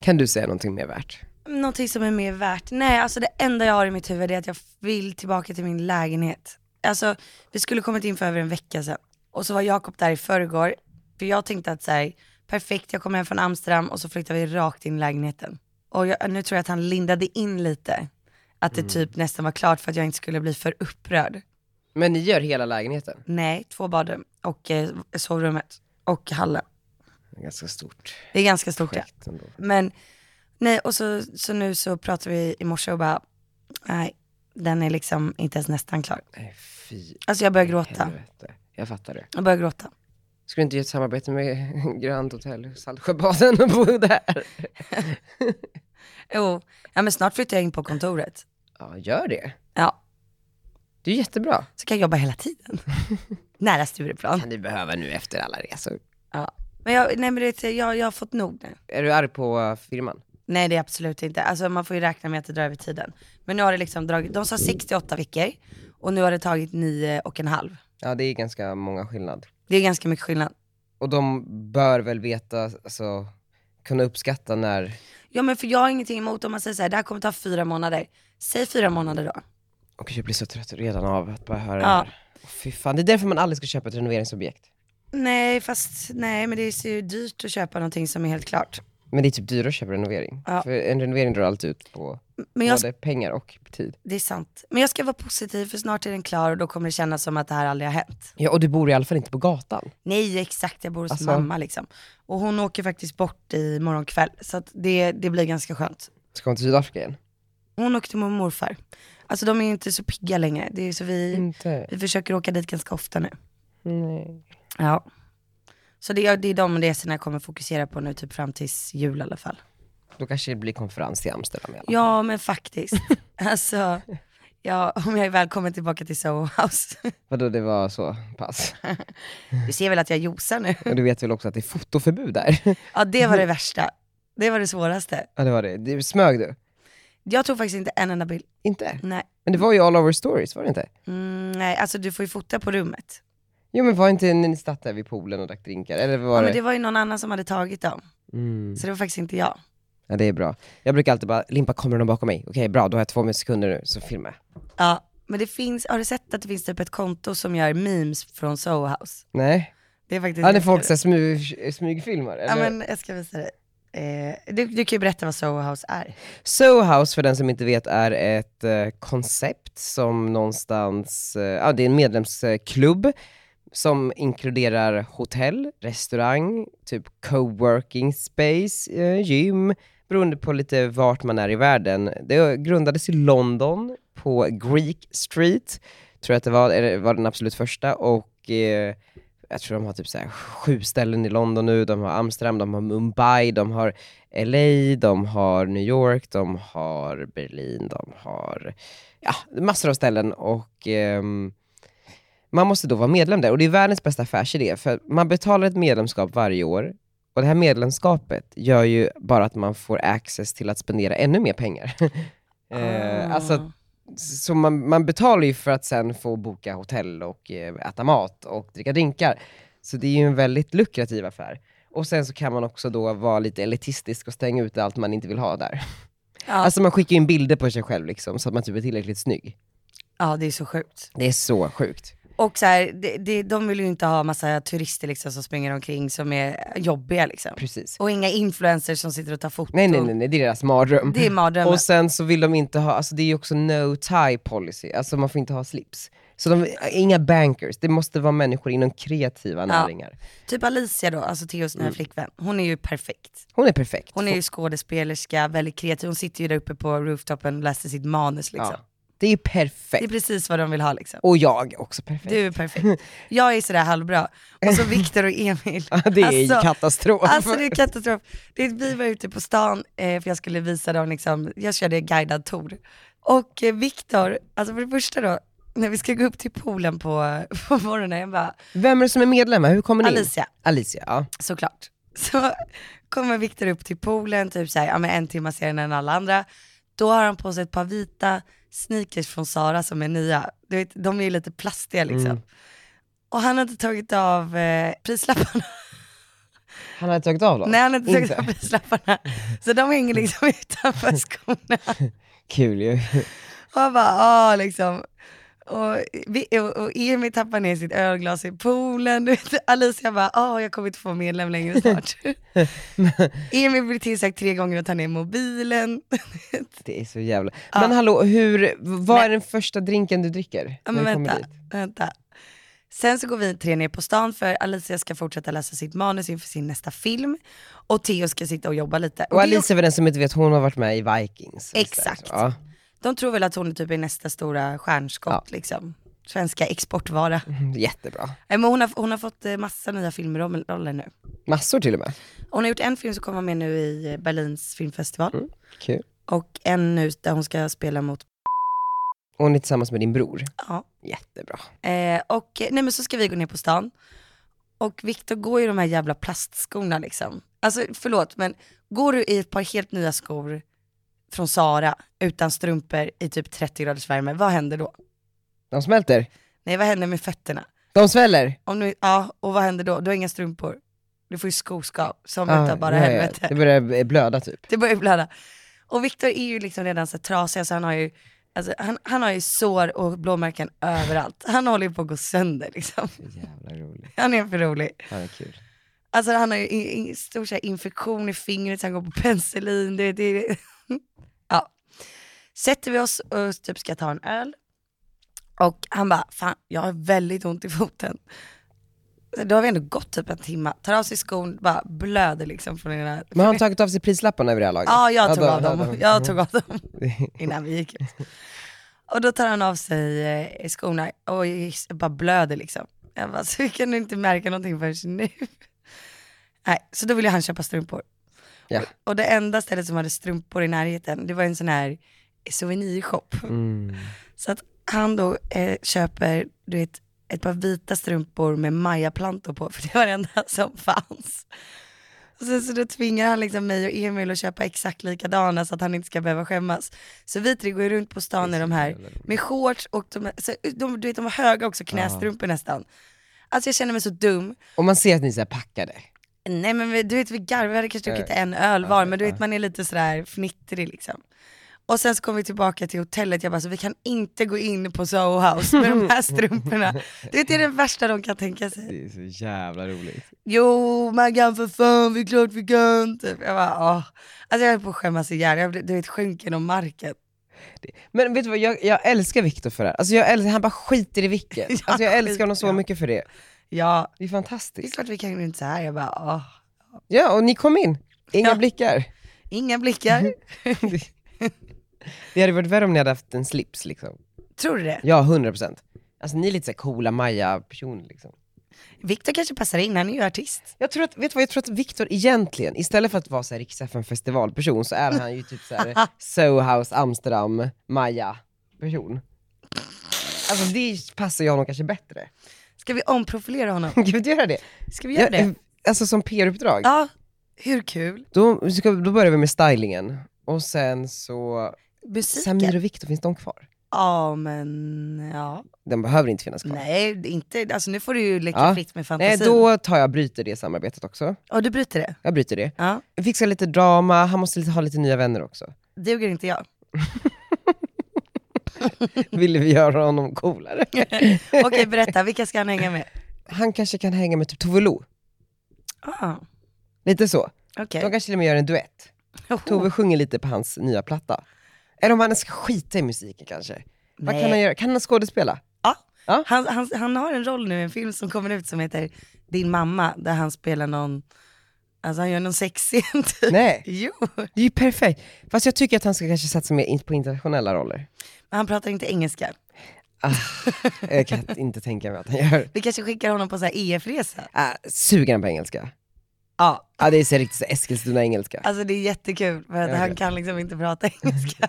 [SPEAKER 1] Kan du säga någonting mer värt?
[SPEAKER 2] Någonting som är mer värt? Nej, alltså det enda jag har i mitt huvud är att jag vill tillbaka till min lägenhet. Alltså, vi skulle kommit in för över en vecka sedan. Och så var Jakob där i förrgår. För jag tänkte att så här, perfekt, jag kom hem från Amsterdam och så flyttade vi rakt in i lägenheten. Och jag, nu tror jag att han lindade in lite, att det typ nästan var klart för att jag inte skulle bli för upprörd.
[SPEAKER 1] Men ni gör hela lägenheten?
[SPEAKER 2] Nej, två badrum och eh, sovrummet och hallen.
[SPEAKER 1] Ganska stort
[SPEAKER 2] Det är ganska stort ja.
[SPEAKER 1] projekt ändå.
[SPEAKER 2] Men, nej och så, så nu så pratade vi i morse och bara, nej, den är liksom inte ens nästan klar.
[SPEAKER 1] Nej, fy
[SPEAKER 2] Alltså jag börjar gråta.
[SPEAKER 1] helvete. Jag fattar det.
[SPEAKER 2] Jag börjar gråta.
[SPEAKER 1] Skulle inte göra ett samarbete med Grand Hotel Saltsjöbaden och bo där?
[SPEAKER 2] Jo, ja men snart flyttar jag in på kontoret.
[SPEAKER 1] Ja, gör det.
[SPEAKER 2] Ja,
[SPEAKER 1] Det är jättebra.
[SPEAKER 2] så kan jag jobba hela tiden. Nära Stureplan.
[SPEAKER 1] Kan du behöva nu efter alla resor.
[SPEAKER 2] Ja. Men jag, nej men det, jag, jag har fått nog nu.
[SPEAKER 1] Är du arg på eh, firman?
[SPEAKER 2] Nej det är absolut inte. Alltså man får ju räkna med att det drar över tiden. Men nu har det liksom dragit, de sa 68 veckor och nu har det tagit nio och en halv.
[SPEAKER 1] Ja, det är ganska många skillnad.
[SPEAKER 2] Det är ganska mycket skillnad.
[SPEAKER 1] Och de bör väl veta, alltså, kunna uppskatta när,
[SPEAKER 2] Ja men för jag har ingenting emot om man säger så här, det här kommer ta fyra månader. Säg fyra månader då.
[SPEAKER 1] och jag blir så trött redan av att bara höra det
[SPEAKER 2] Ja.
[SPEAKER 1] här. Åh, Fy fan, det är därför man aldrig ska köpa ett renoveringsobjekt.
[SPEAKER 2] Nej fast, nej men det är så ju dyrt att köpa någonting som är helt klart.
[SPEAKER 1] Men det är typ dyrare att köpa renovering.
[SPEAKER 2] Ja.
[SPEAKER 1] För en renovering drar alltid ut på
[SPEAKER 2] Men jag,
[SPEAKER 1] både pengar och tid.
[SPEAKER 2] det är sant. Men jag ska vara positiv för snart är den klar och då kommer det kännas som att det här aldrig har hänt.
[SPEAKER 1] Ja, och du bor i alla fall inte på gatan.
[SPEAKER 2] Nej exakt, jag bor hos
[SPEAKER 1] Alltså-
[SPEAKER 2] mamma liksom. Och hon åker faktiskt bort i morgon kväll, så att det, det blir ganska skönt.
[SPEAKER 1] Ska hon till Sydafrika igen?
[SPEAKER 2] Hon åkte med morfar. Alltså de är ju inte så pigga längre, det är så vi,
[SPEAKER 1] Inte.
[SPEAKER 2] vi försöker åka dit ganska ofta nu.
[SPEAKER 1] Nej.
[SPEAKER 2] Ja. Så det är, det är de resorna jag kommer fokusera på nu typ fram tills jul i alla fall.
[SPEAKER 1] Då kanske det blir konferens i Amsterdam i alla fall.
[SPEAKER 2] Ja men faktiskt. alltså, ja, om jag är välkommen tillbaka till Soho House.
[SPEAKER 1] Vadå, det var så pass.
[SPEAKER 2] du ser väl att jag josar nu?
[SPEAKER 1] Och du vet väl också att det är fotoförbud där?
[SPEAKER 2] Ja det var det värsta. Det var det svåraste.
[SPEAKER 1] ja, det var det. det. Smög du?
[SPEAKER 2] Jag tog faktiskt inte en enda bild.
[SPEAKER 1] Inte?
[SPEAKER 2] Nej.
[SPEAKER 1] Men det var ju all over stories, var det inte?
[SPEAKER 2] Mm, nej, alltså du får ju fota på rummet.
[SPEAKER 1] Jo men var inte när ni satt där vid poolen och drack drinkar? Eller var
[SPEAKER 2] Ja,
[SPEAKER 1] det...
[SPEAKER 2] men det var ju någon annan som hade tagit dem,
[SPEAKER 1] Mm.
[SPEAKER 2] så det var faktiskt inte jag.
[SPEAKER 1] Ja det är bra. Jag brukar alltid bara, Limpa kommer någon bakom mig? Okej bra, då har jag två sekunder nu, så filmar jag.
[SPEAKER 2] Ja, men det finns, har du sett att det finns typ ett konto som gör memes från Soho House?
[SPEAKER 1] Nej?
[SPEAKER 2] Det är faktiskt
[SPEAKER 1] Ja när folk
[SPEAKER 2] jättekul.
[SPEAKER 1] så här smyg, smygfilmar? Eller?
[SPEAKER 2] Ja men jag ska visa dig. Eh, du, du kan ju berätta vad Soho House är.
[SPEAKER 1] Soho House, för den som inte vet, är ett eh, koncept som någonstans, eh, ja det är en medlemsklubb som inkluderar hotell, restaurang, typ coworking space, eh, gym, beroende på lite vart man är i världen. Det grundades i London på Greek Street, tror jag att det var, eller var den absolut första, och eh, jag tror de har typ så här sju ställen i London nu, de har Amsterdam, de har Mumbai, de har LA, de har New York, de har Berlin, de har ja, massor av ställen och ehm, man måste då vara medlem där. Och det är världens bästa affärsidé för man betalar ett medlemskap varje år och det här medlemskapet gör ju bara att man får access till att spendera ännu mer pengar. Eh, alltså
[SPEAKER 2] Ah.
[SPEAKER 1] så man, man betalar ju för att sen få boka hotell och eh, äta mat och dricka drinkar. Så det är ju en väldigt lukrativ affär. Och sen så kan man också då vara lite elitistisk och stänga ut allt man inte vill ha där.
[SPEAKER 2] Ja,
[SPEAKER 1] Alltså man skickar in bilder på sig själv liksom, så att man typ är tillräckligt snygg.
[SPEAKER 2] ja, det är så sjukt.
[SPEAKER 1] Det är så sjukt.
[SPEAKER 2] Och så här, det, det, de vill ju inte ha massa turister liksom som springer omkring som är jobbiga liksom.
[SPEAKER 1] Precis.
[SPEAKER 2] Och inga influencers som sitter och tar foton.
[SPEAKER 1] Nej nej nej, nej det är deras mardröm.
[SPEAKER 2] Det är mardrömmen.
[SPEAKER 1] Och sen så vill de inte ha, alltså det är ju också no tie policy, alltså man får inte ha slips. Så de, inga bankers, det måste vara människor inom kreativa näringar.
[SPEAKER 2] Typ Alicia då, alltså Theos
[SPEAKER 1] Mm.
[SPEAKER 2] nya flickvän, hon är ju perfekt.
[SPEAKER 1] Hon är perfekt.
[SPEAKER 2] Hon är ju skådespelerska, väldigt kreativ, hon sitter ju där uppe på rooftopen och läser sitt manus liksom.
[SPEAKER 1] ja. Det är perfekt.
[SPEAKER 2] Det är precis vad de vill ha liksom.
[SPEAKER 1] Och jag är också perfekt.
[SPEAKER 2] Du är perfekt. Jag är sådär halvbra. Och så Viktor och Emil.
[SPEAKER 1] Ja, det är ju
[SPEAKER 2] Alltså,
[SPEAKER 1] katastrof.
[SPEAKER 2] Alltså det är katastrof. Det, vi var ute på stan, eh, för jag skulle visa dem, liksom, jag körde guidad tour. Och eh, Viktor, alltså för det första då, när vi ska gå upp till poolen på, på morgonen, jag bara,
[SPEAKER 1] Vem är det som är medlemmar? Hur kommer ni in?
[SPEAKER 2] Alicia.
[SPEAKER 1] Alicia, ja.
[SPEAKER 2] såklart. Så kommer Viktor upp till poolen, typ såhär, ja men en timme senare än alla andra. Då har han på sig ett par vita sneakers från Sara som är nya. Du vet, de är ju lite plastiga liksom. Och han har inte tagit av eh, prislapparna.
[SPEAKER 1] Han hade tagit av dem?
[SPEAKER 2] Nej han har inte tagit
[SPEAKER 1] Inte.
[SPEAKER 2] av prislapparna. Så de hänger liksom utanför skorna.
[SPEAKER 1] Kul ju.
[SPEAKER 2] Och jag bara, ah liksom. Och, vi, och, och Emil tappar ner sitt ölglas i poolen. Du vet, Alicia bara, ah jag kommer inte få medlem längre snart. Emil blir tillsagd tre gånger att ta ner mobilen.
[SPEAKER 1] Det är så jävla... Men hallå, hur, vad är den första drinken du dricker?
[SPEAKER 2] Ja,
[SPEAKER 1] när
[SPEAKER 2] men
[SPEAKER 1] du kommer
[SPEAKER 2] vänta,
[SPEAKER 1] dit?
[SPEAKER 2] vänta. Sen så går vi tre ner på stan för Alicia ska fortsätta läsa sitt manus inför sin nästa film. Och Theo ska sitta och jobba lite.
[SPEAKER 1] Och
[SPEAKER 2] det är också-
[SPEAKER 1] Alice, för den som inte vet, hon har varit med i Vikings. och
[SPEAKER 2] Exakt.
[SPEAKER 1] sådär. Ja.
[SPEAKER 2] De tror väl att hon är typ är nästa stora stjärnskott liksom. Svenska exportvara.
[SPEAKER 1] Jättebra.
[SPEAKER 2] Nej, Men hon, har, hon har fått eh, massa nya filmroller nu.
[SPEAKER 1] Massor till och med.
[SPEAKER 2] Hon har gjort en film som kommer med nu i eh, Berlins filmfestival.
[SPEAKER 1] Kul.
[SPEAKER 2] Och en nu där hon ska spela mot,
[SPEAKER 1] Och hon är tillsammans med din bror.
[SPEAKER 2] ja.
[SPEAKER 1] Jättebra.
[SPEAKER 2] Eh, och eh, nej men så ska vi gå ner på stan. Och Viktor går i de här jävla plastskorna liksom. Alltså förlåt men går du i ett par helt nya skor från Sara utan strumpor i typ 30 graders värme, vad händer då?
[SPEAKER 1] De smälter.
[SPEAKER 2] Nej vad händer med fötterna?
[SPEAKER 1] De sväller.
[SPEAKER 2] Om nu, ja, och vad händer då? Du har inga strumpor. Du får ju skoskav som
[SPEAKER 1] Ja,
[SPEAKER 2] utav bara
[SPEAKER 1] ja, ja.
[SPEAKER 2] helvete.
[SPEAKER 1] Det börjar blöda typ.
[SPEAKER 2] Det börjar blöda. Och Viktor är ju liksom redan så här trasig, så han har ju Alltså, han, han har ju sår och blåmärken överallt. Han håller ju på att gå sönder liksom.
[SPEAKER 1] Jävla roligt.
[SPEAKER 2] Han är för rolig.
[SPEAKER 1] Ja, det är kul.
[SPEAKER 2] Alltså han har ju i- i- stor så här, infektion i fingret, så han går på penicillin. Det, det, ja. Sätter vi oss och typ ska ta en öl. Och han bara, fan jag har väldigt ont i foten. Då har vi ändå gått typ en timme, tar av sig skon, bara blöder liksom från ena...
[SPEAKER 1] Men har han tagit av sig prislapparna över det här laget?
[SPEAKER 2] Ja, jag tog
[SPEAKER 1] då-
[SPEAKER 2] av dem.
[SPEAKER 1] ja,
[SPEAKER 2] Jag
[SPEAKER 1] då-
[SPEAKER 2] tog av dem innan vi gick ut. Och då tar han av sig eh, skorna och jag bara blöder liksom. Jag bara, så kan du inte märka någonting förrän nu? Nej, så då ville han köpa strumpor.
[SPEAKER 1] Ja.
[SPEAKER 2] Och det enda stället som hade strumpor i närheten, det var en sån här souvenirshop.
[SPEAKER 1] Mm.
[SPEAKER 2] Så att han då eh, köper, du vet, ett par vita strumpor med majaplantor på, för det var det enda som fanns. Och sen så då tvingar han liksom mig och Emil att köpa exakt likadana så att han inte ska behöva skämmas. Så vi tre går ju runt på stan i de här, med shorts och de, så, de, du vet, de var höga också, knästrumpor nästan. Alltså jag känner mig så dum.
[SPEAKER 1] Och man ser att ni är så här packade.
[SPEAKER 2] Nej men vi- du vet vi garvade kanske druckit en öl var, men du vet man är lite sådär fnittrig liksom. Och sen så kom vi tillbaka till hotellet, jag bara så vi kan inte gå in på Soho House med de här strumporna. Du vet det är det värsta de kan tänka sig.
[SPEAKER 1] Det är så jävla roligt.
[SPEAKER 2] Jo man kan för fan, vi är klart vi kan. Typ. Jag bara åh. Alltså jag höll på att skämmas ihjäl, jag blev, du vet sjönk genom marken.
[SPEAKER 1] Men vet du vad, jag, jag älskar Viktor för det här. Alltså jag älskar, han bara skiter i vilket.
[SPEAKER 2] Ja,
[SPEAKER 1] Alltså jag älskar honom
[SPEAKER 2] skit,
[SPEAKER 1] så
[SPEAKER 2] ja.
[SPEAKER 1] mycket för det.
[SPEAKER 2] Ja,
[SPEAKER 1] Det är
[SPEAKER 2] det är
[SPEAKER 1] fantastiskt.
[SPEAKER 2] klart vi kan gå runt så här. Jag bara åh.
[SPEAKER 1] Ja, och ni kom in. Inga
[SPEAKER 2] Ja.
[SPEAKER 1] blickar.
[SPEAKER 2] Inga blickar.
[SPEAKER 1] Det- det hade varit värre om ni hade haft en slips liksom.
[SPEAKER 2] Tror du det?
[SPEAKER 1] Ja, 100%. Alltså ni är lite så här coola Maja-personer liksom.
[SPEAKER 2] Viktor kanske passar in, han är ju artist.
[SPEAKER 1] Jag tror att, vet du vad, jag tror att Viktor egentligen, istället för att vara så här riks FN festivalperson så är han ju typ så här Soho House Amsterdam, Maja-person. Alltså det passar ju honom kanske bättre.
[SPEAKER 2] Ska vi omprofilera honom?
[SPEAKER 1] Gud, göra det.
[SPEAKER 2] Ska vi göra det?
[SPEAKER 1] Alltså som PR-uppdrag.
[SPEAKER 2] Ja, hur kul?
[SPEAKER 1] Då, ska, då börjar vi med stylingen, och sen så, Samir
[SPEAKER 2] Musiken?
[SPEAKER 1] och Viktor, finns de kvar?
[SPEAKER 2] Ja men ja.
[SPEAKER 1] De behöver inte finnas kvar.
[SPEAKER 2] Nej, det är inte, alltså nu får du ju leka
[SPEAKER 1] Ja.
[SPEAKER 2] fritt med
[SPEAKER 1] Nej,
[SPEAKER 2] fantasin.
[SPEAKER 1] då tar jag, bryter det samarbetet också.
[SPEAKER 2] Ja, du bryter det?
[SPEAKER 1] Jag bryter det.
[SPEAKER 2] Ja.
[SPEAKER 1] Vi fixar lite drama, han måste lite, ha lite nya vänner också.
[SPEAKER 2] Duger inte jag?
[SPEAKER 1] Vill vi göra honom coolare?
[SPEAKER 2] Okej, berätta, vilka ska han hänga med?
[SPEAKER 1] Han kanske kan hänga med typ Tove Lo,
[SPEAKER 2] Ah,
[SPEAKER 1] lite så.
[SPEAKER 2] Okej.
[SPEAKER 1] De kanske till och med gör en duett. Tove sjunger lite på hans nya platta. Eller om han ska skita i musiken kanske. Vad kan han göra? Kan han skådespela?
[SPEAKER 2] Han, han, han har en roll nu i en film som kommer ut som heter Din mamma, där han spelar någon, alltså han gör någon sexscen typ.
[SPEAKER 1] Nej,
[SPEAKER 2] Jo,
[SPEAKER 1] det är ju perfekt. Fast jag tycker att han ska kanske satsa mer in- på internationella roller. Ah,
[SPEAKER 2] men han pratar inte engelska.
[SPEAKER 1] Jag kan inte tänka mig att han gör.
[SPEAKER 2] Vi kanske skickar honom på så här E EF-resa.
[SPEAKER 1] Ah, suger han på engelska?
[SPEAKER 2] Ja,
[SPEAKER 1] Ja, det är så riktigt så Eskilstuna-engelska.
[SPEAKER 2] alltså det är jättekul för att
[SPEAKER 1] Okej.
[SPEAKER 2] han kan liksom inte prata engelska.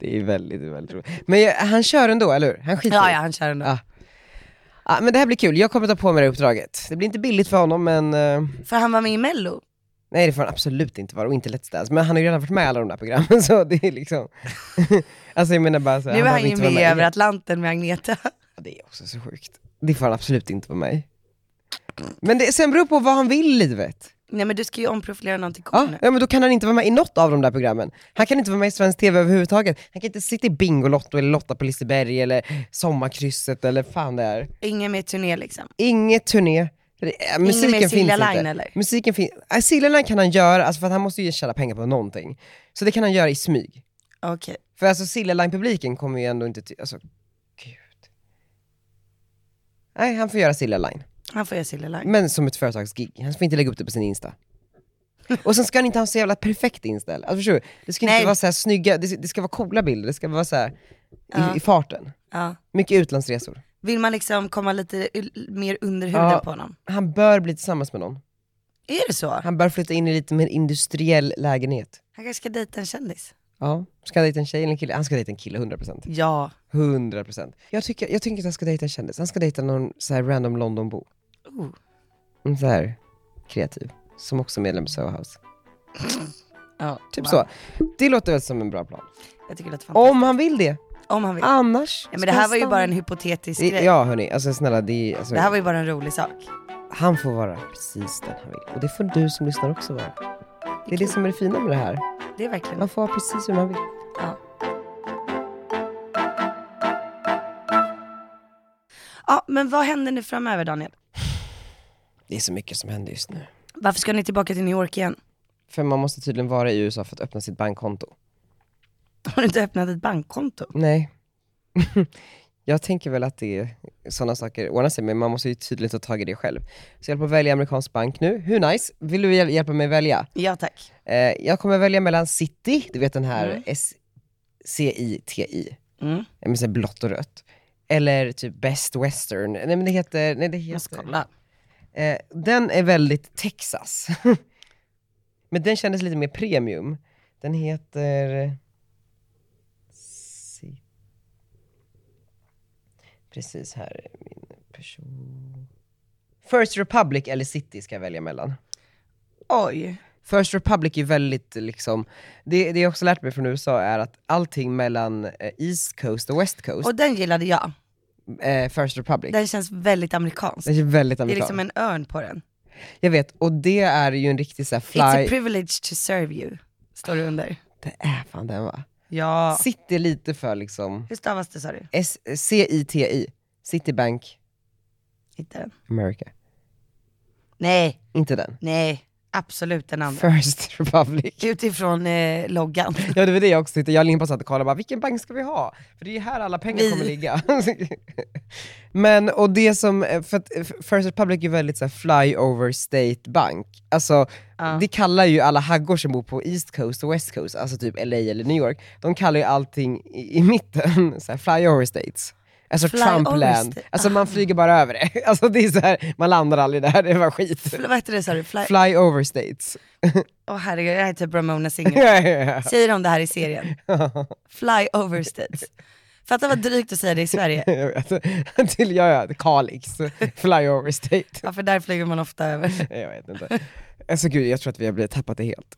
[SPEAKER 1] Det är väldigt, väldigt roligt. Men jag, han kör ändå, eller hur? Han skiter
[SPEAKER 2] Ja,
[SPEAKER 1] i.
[SPEAKER 2] ja, han kör ändå.
[SPEAKER 1] Ja. Ah, Men det här blir kul, jag kommer ta på mig det här uppdraget. Det blir inte billigt för honom, men... eh,
[SPEAKER 2] För han var med i mello.
[SPEAKER 1] nej, det får han absolut inte vara, och inte Let's Dance. Men han har ju redan varit med i alla de där programmen, så det är liksom... alltså jag menar bara så,
[SPEAKER 2] Nu är han
[SPEAKER 1] behöver
[SPEAKER 2] ju
[SPEAKER 1] inte vara
[SPEAKER 2] med i Över
[SPEAKER 1] igen.
[SPEAKER 2] Atlanten med Agneta.
[SPEAKER 1] Ja, Det är också så sjukt. Det får han absolut inte vara med i. Men det, sen beror på vad han vill i livet.
[SPEAKER 2] Nej men du ska ju omprofilera någon till kock
[SPEAKER 1] Ja,
[SPEAKER 2] nu.
[SPEAKER 1] ja, men då kan han inte vara med i något av de där programmen. Han kan inte vara med i svensk TV överhuvudtaget. Han kan inte sitta i Bingolotto eller Lotta på Liseberg eller Sommarkrysset eller fan det är.
[SPEAKER 2] Ingen mer turné liksom.
[SPEAKER 1] Inget turné. Eh, Musiken
[SPEAKER 2] mer
[SPEAKER 1] finns
[SPEAKER 2] Silja
[SPEAKER 1] inte.
[SPEAKER 2] Line, eller?
[SPEAKER 1] Musiken finns. Äh, Silja Line kan han göra, alltså för att han måste ju tjäna pengar på någonting. Så det kan han göra i smyg.
[SPEAKER 2] Okej.
[SPEAKER 1] För alltså Silja Line-publiken kommer ju ändå inte till, alltså gud. Nej, han får göra Silja Line.
[SPEAKER 2] Han får göra Silja Line.
[SPEAKER 1] Men som ett företagsgig. Han får inte lägga upp det på sin Insta. Och sen ska han inte ha så jävla perfekt Insta heller. alltså, förstår du? Det ska
[SPEAKER 2] Nej.
[SPEAKER 1] inte vara så här snygga, det, det ska vara coola bilder, det ska vara så här i,
[SPEAKER 2] Ja.
[SPEAKER 1] i farten.
[SPEAKER 2] Ja.
[SPEAKER 1] Mycket utlandsresor.
[SPEAKER 2] Vill man liksom komma lite u- mer under huden
[SPEAKER 1] Ja.
[SPEAKER 2] på honom?
[SPEAKER 1] Han bör bli tillsammans med någon.
[SPEAKER 2] Är det så? Han
[SPEAKER 1] Han bör flytta in i lite mer industriell lägenhet.
[SPEAKER 2] kanske ska dejta en kändis?
[SPEAKER 1] Ja. Ska han dejta en tjej eller en kille? Han ska dejta en kille, 100%.
[SPEAKER 2] Ja.
[SPEAKER 1] 100%. Jag tycker, jag tycker inte han ska dejta en kändis, han ska dejta någon så här random Londonbo.
[SPEAKER 2] Oh.
[SPEAKER 1] Mm, så här kreativ, som också är medlem i Soho House.
[SPEAKER 2] ja.
[SPEAKER 1] Typ så.
[SPEAKER 2] wow.
[SPEAKER 1] Det låter väl som en bra plan.
[SPEAKER 2] Jag tycker det låter fantastiskt.
[SPEAKER 1] Om han vill det.
[SPEAKER 2] Om han vill.
[SPEAKER 1] Annars
[SPEAKER 2] ja, men
[SPEAKER 1] Ah. ska
[SPEAKER 2] det här
[SPEAKER 1] han
[SPEAKER 2] var ju
[SPEAKER 1] stanna.
[SPEAKER 2] bara en hypotetisk
[SPEAKER 1] Det-
[SPEAKER 2] grej.
[SPEAKER 1] Ja hörni, alltså snälla det, är- alltså,
[SPEAKER 2] Det här var ju bara en rolig sak.
[SPEAKER 1] han får vara precis den han vill. Och det får du som lyssnar också vara. Det är det som är det fina med det här.
[SPEAKER 2] Det är verkligen
[SPEAKER 1] Man får vara precis hur man vill.
[SPEAKER 2] Ja. Ja, men vad händer nu framöver Daniel?
[SPEAKER 1] Det är så mycket som händer just nu.
[SPEAKER 2] Varför ska ni tillbaka till New York igen?
[SPEAKER 1] För man måste tydligen vara i USA för att öppna sitt bankkonto.
[SPEAKER 2] Har du inte öppnat ett bankkonto?
[SPEAKER 1] Nej. jag tänker väl att det sådana saker ordnar sig, men man måste ju tydligen ta tag i det själv. Så jag håller på att välja amerikansk bank nu. Hur nice? Vill du hjäl- hjälpa mig välja?
[SPEAKER 2] Ja tack.
[SPEAKER 1] Eh, jag kommer välja mellan City, du vet den här S-C-I-T-I,
[SPEAKER 2] Mm.
[SPEAKER 1] Eh, med så här blått och rött. Eller typ Best Western, nej men det heter, nej det
[SPEAKER 2] Måste
[SPEAKER 1] heter,
[SPEAKER 2] kolla.
[SPEAKER 1] eh, den är väldigt Texas. men den kändes lite mer premium. Den heter... eh, City. Precis här är min person. First Republic eller City ska jag välja mellan.
[SPEAKER 2] Oj.
[SPEAKER 1] First Republic är väldigt liksom, det, det jag också lärt mig från USA är att allting mellan eh, East Coast och West Coast,
[SPEAKER 2] Och den gillade jag.
[SPEAKER 1] eh, First Republic,
[SPEAKER 2] Den känns väldigt amerikansk.
[SPEAKER 1] det är väldigt
[SPEAKER 2] Det är
[SPEAKER 1] amerikanskt.
[SPEAKER 2] liksom en örn på den.
[SPEAKER 1] Jag vet, och det är ju en riktig såhär
[SPEAKER 2] It's a
[SPEAKER 1] fly...
[SPEAKER 2] privilege to serve you, står det under.
[SPEAKER 1] Det är fan den va?
[SPEAKER 2] Ja.
[SPEAKER 1] City lite för liksom,
[SPEAKER 2] Hur stavas det sa du?
[SPEAKER 1] S- C-I-T-I, Citibank
[SPEAKER 2] Hitta den.
[SPEAKER 1] America.
[SPEAKER 2] Nej,
[SPEAKER 1] Inte den.
[SPEAKER 2] nej, absolut den andra.
[SPEAKER 1] First Republic.
[SPEAKER 2] Utifrån eh, loggan.
[SPEAKER 1] Ja det var det jag också tyckte, jag och Linn bara satt och kollade bara, vilken bank ska vi ha? För det är ju här alla pengar
[SPEAKER 2] Vi.
[SPEAKER 1] kommer ligga. Men, och det som, eh, för att First Republic är ju väldigt såhär flyover state bank. Alltså, det kallar ju alla haggor som bor på East Coast och West Coast, alltså typ LA eller New York, de kallar ju allting i, i mitten såhär flyover states. Alltså
[SPEAKER 2] Flyover Ah.
[SPEAKER 1] Trumpland.
[SPEAKER 2] sta-
[SPEAKER 1] Alltså man flyger bara över det. Alltså det är så här, man landar aldrig där, det var skit.
[SPEAKER 2] Fl- vad hette det sa du? Fly-
[SPEAKER 1] Flyover states.
[SPEAKER 2] Åh herregud, jag är typ Ramona Singer. Säger de det här i serien? Fly over states. Fatta vad drygt att säga det i Sverige.
[SPEAKER 1] Jag vet. Till, ja, ja, Kalix, flyover state.
[SPEAKER 2] Ja, för där flyger man ofta över.
[SPEAKER 1] Jag vet inte. Alltså gud, jag tror att vi har blivit tappat det helt.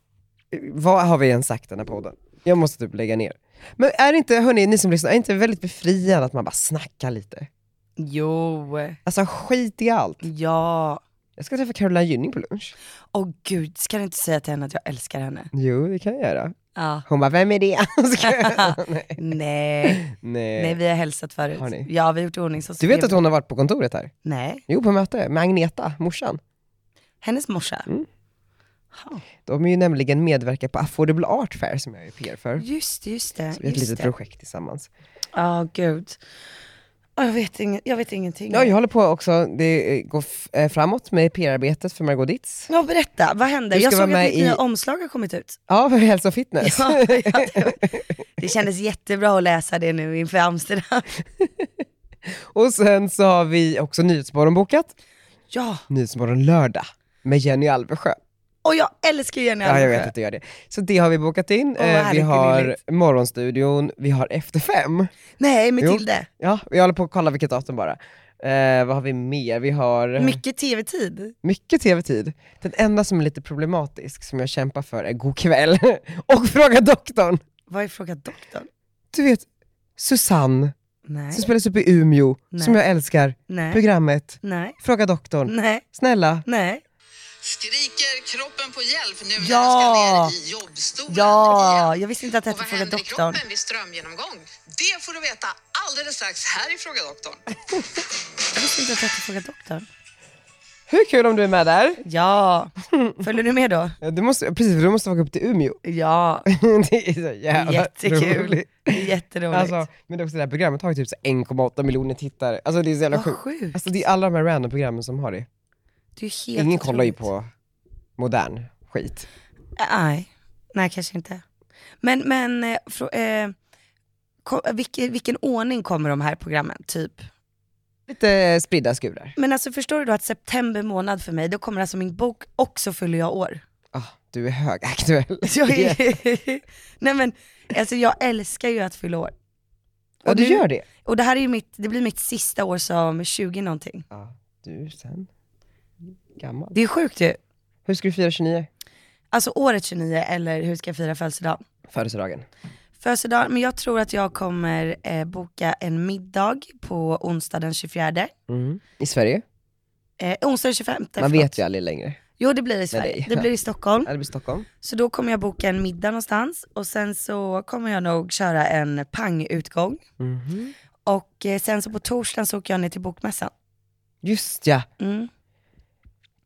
[SPEAKER 1] Vad har vi ens sagt i den här podden? Jag måste typ lägga ner. Men är det inte, hörni, ni som lyssnar, är det inte väldigt befriande att man bara snackar lite?
[SPEAKER 2] Jo,
[SPEAKER 1] Alltså skit i allt.
[SPEAKER 2] ja.
[SPEAKER 1] Jag ska träffa Caroline Gynning på lunch.
[SPEAKER 2] Åh gud, ska du inte säga till henne att jag älskar henne?
[SPEAKER 1] Jo, det kan jag göra.
[SPEAKER 2] Ja.
[SPEAKER 1] Hon bara, vem är det? Ska jag- Nej.
[SPEAKER 2] Nej. Nej,
[SPEAKER 1] Nej.
[SPEAKER 2] vi har hälsat förut.
[SPEAKER 1] Eh, Har ni?
[SPEAKER 2] Ja, vi har gjort i ordning så
[SPEAKER 1] Du vet att hon har varit på kontoret här?
[SPEAKER 2] Nej,
[SPEAKER 1] Jo, på möte med Agneta, morsan.
[SPEAKER 2] hennes morsa.
[SPEAKER 1] Mm.
[SPEAKER 2] Ja,
[SPEAKER 1] De är ju nämligen medverkar på Affordable Art Fair som jag är PR för.
[SPEAKER 2] Just det, just det.
[SPEAKER 1] Så vi har ett
[SPEAKER 2] just
[SPEAKER 1] litet
[SPEAKER 2] det.
[SPEAKER 1] projekt tillsammans.
[SPEAKER 2] Ja, gud. Ja, jag, vet ingen, jag vet ingenting.
[SPEAKER 1] Ja, jag håller på också, det eh, går f- eh, framåt med PR-arbetet för Margot Ditz.
[SPEAKER 2] Ja, berätta, vad hände?
[SPEAKER 1] Du
[SPEAKER 2] Jag
[SPEAKER 1] ska
[SPEAKER 2] såg att
[SPEAKER 1] vara
[SPEAKER 2] mitt
[SPEAKER 1] med
[SPEAKER 2] nya
[SPEAKER 1] i-
[SPEAKER 2] omslag har kommit ut.
[SPEAKER 1] Ja, för hälsa och fitness.
[SPEAKER 2] Ja, ja, det, det kändes jättebra att läsa det nu inför Amsterdam.
[SPEAKER 1] och sen så har vi också Nyhetsmorgon bokat.
[SPEAKER 2] Ja,
[SPEAKER 1] Nyhetsmorgon lördag med Jenny Alvesjö.
[SPEAKER 2] och jag älskar Jenny
[SPEAKER 1] Ja, jag
[SPEAKER 2] Alvesjö.
[SPEAKER 1] vet att du gör det. Så det har vi bokat in.
[SPEAKER 2] vad
[SPEAKER 1] Eh, vi
[SPEAKER 2] härligt,
[SPEAKER 1] har
[SPEAKER 2] gulligt.
[SPEAKER 1] Morgonstudion, vi har Efter fem.
[SPEAKER 2] Nej,
[SPEAKER 1] Jo.
[SPEAKER 2] Matilda.
[SPEAKER 1] Ja, vi håller på att kolla vilket datum bara. Eh, vad har vi mer? Vi har
[SPEAKER 2] Mycket tv-tid.
[SPEAKER 1] mycket tv-tid. Den enda som är lite problematisk, som jag kämpar för, är God kväll och Fråga doktorn.
[SPEAKER 2] Vad är Fråga doktorn?
[SPEAKER 1] Du vet, Susanne
[SPEAKER 2] Nej,
[SPEAKER 1] som spelas upp i Umeå,
[SPEAKER 2] Nej.
[SPEAKER 1] som jag älskar.
[SPEAKER 2] nej,
[SPEAKER 1] Programmet,
[SPEAKER 2] nej,
[SPEAKER 1] Fråga doktorn.
[SPEAKER 2] nej,
[SPEAKER 1] Snälla,
[SPEAKER 2] nej.
[SPEAKER 6] Skriker kroppen på hjälp nu när
[SPEAKER 2] Ja.
[SPEAKER 6] du ska ner i jobbstolen
[SPEAKER 2] Ja,
[SPEAKER 6] igen.
[SPEAKER 2] jag visste inte att det
[SPEAKER 6] Och
[SPEAKER 2] hette
[SPEAKER 6] vad
[SPEAKER 2] Fråga
[SPEAKER 6] händer i
[SPEAKER 2] doktorn.
[SPEAKER 6] kroppen vid strömgenomgång? Det får du veta alldeles strax här i Fråga doktorn.
[SPEAKER 2] Jag visste inte att det hette Fråga doktorn.
[SPEAKER 1] Hur kul om du är med där?
[SPEAKER 2] Ja, följer du med då?
[SPEAKER 1] Ja, Du måste, precis, för du måste åka upp till Umeå.
[SPEAKER 2] Ja,
[SPEAKER 1] det är så jävla
[SPEAKER 2] jättekul.
[SPEAKER 1] roligt.
[SPEAKER 2] Det är Jätteroligt.
[SPEAKER 1] Alltså, men det är också det här programmet har ju typ så 1,8 miljoner tittare. Alltså det är så jävla
[SPEAKER 2] Vad
[SPEAKER 1] sjukt.
[SPEAKER 2] sjukt.
[SPEAKER 1] Alltså det är alla de här random programmen som har det.
[SPEAKER 2] det är helt
[SPEAKER 1] Ingen kollar ju
[SPEAKER 2] otroligt.
[SPEAKER 1] på modern skit.
[SPEAKER 2] Nej, nej kanske inte. Men, men eh, frå, eh, ko, vilken, vilken ordning kommer de här programmen? Typ.
[SPEAKER 1] Lite eh, spridda skurar.
[SPEAKER 2] Men alltså förstår du då att september månad för mig, då kommer alltså min bok och så fyller jag år.
[SPEAKER 1] Ah, du är högaktuell.
[SPEAKER 2] Så jag är, nej men, alltså jag älskar ju att fylla år.
[SPEAKER 1] Ja, du
[SPEAKER 2] nu-
[SPEAKER 1] gör det.
[SPEAKER 2] Och det här är ju mitt, det blir mitt sista år som 20 någonting.
[SPEAKER 1] Ja, Ah, du är sen gammal.
[SPEAKER 2] Det är sjukt ju.
[SPEAKER 1] Hur ska du fira 29?
[SPEAKER 2] Alltså året 29 eller hur ska jag fira födelsedag?
[SPEAKER 1] Födelsedagen.
[SPEAKER 2] Födelsedag, men jag tror att jag kommer eh, boka en middag på onsdag den 24.
[SPEAKER 1] Mm. I Sverige?
[SPEAKER 2] Eh, onsdag den 25.
[SPEAKER 1] Man
[SPEAKER 2] förlåt.
[SPEAKER 1] vet ju aldrig längre.
[SPEAKER 2] Jo det blir i
[SPEAKER 1] dig.
[SPEAKER 2] Sverige, det blir i Stockholm.
[SPEAKER 1] Ja, det blir Stockholm.
[SPEAKER 2] Så då kommer jag boka en middag någonstans och sen så kommer jag nog köra en pangutgång. Och eh, sen så på torsdagen så åker jag ner till bokmässan.
[SPEAKER 1] Just ja,
[SPEAKER 2] Mm.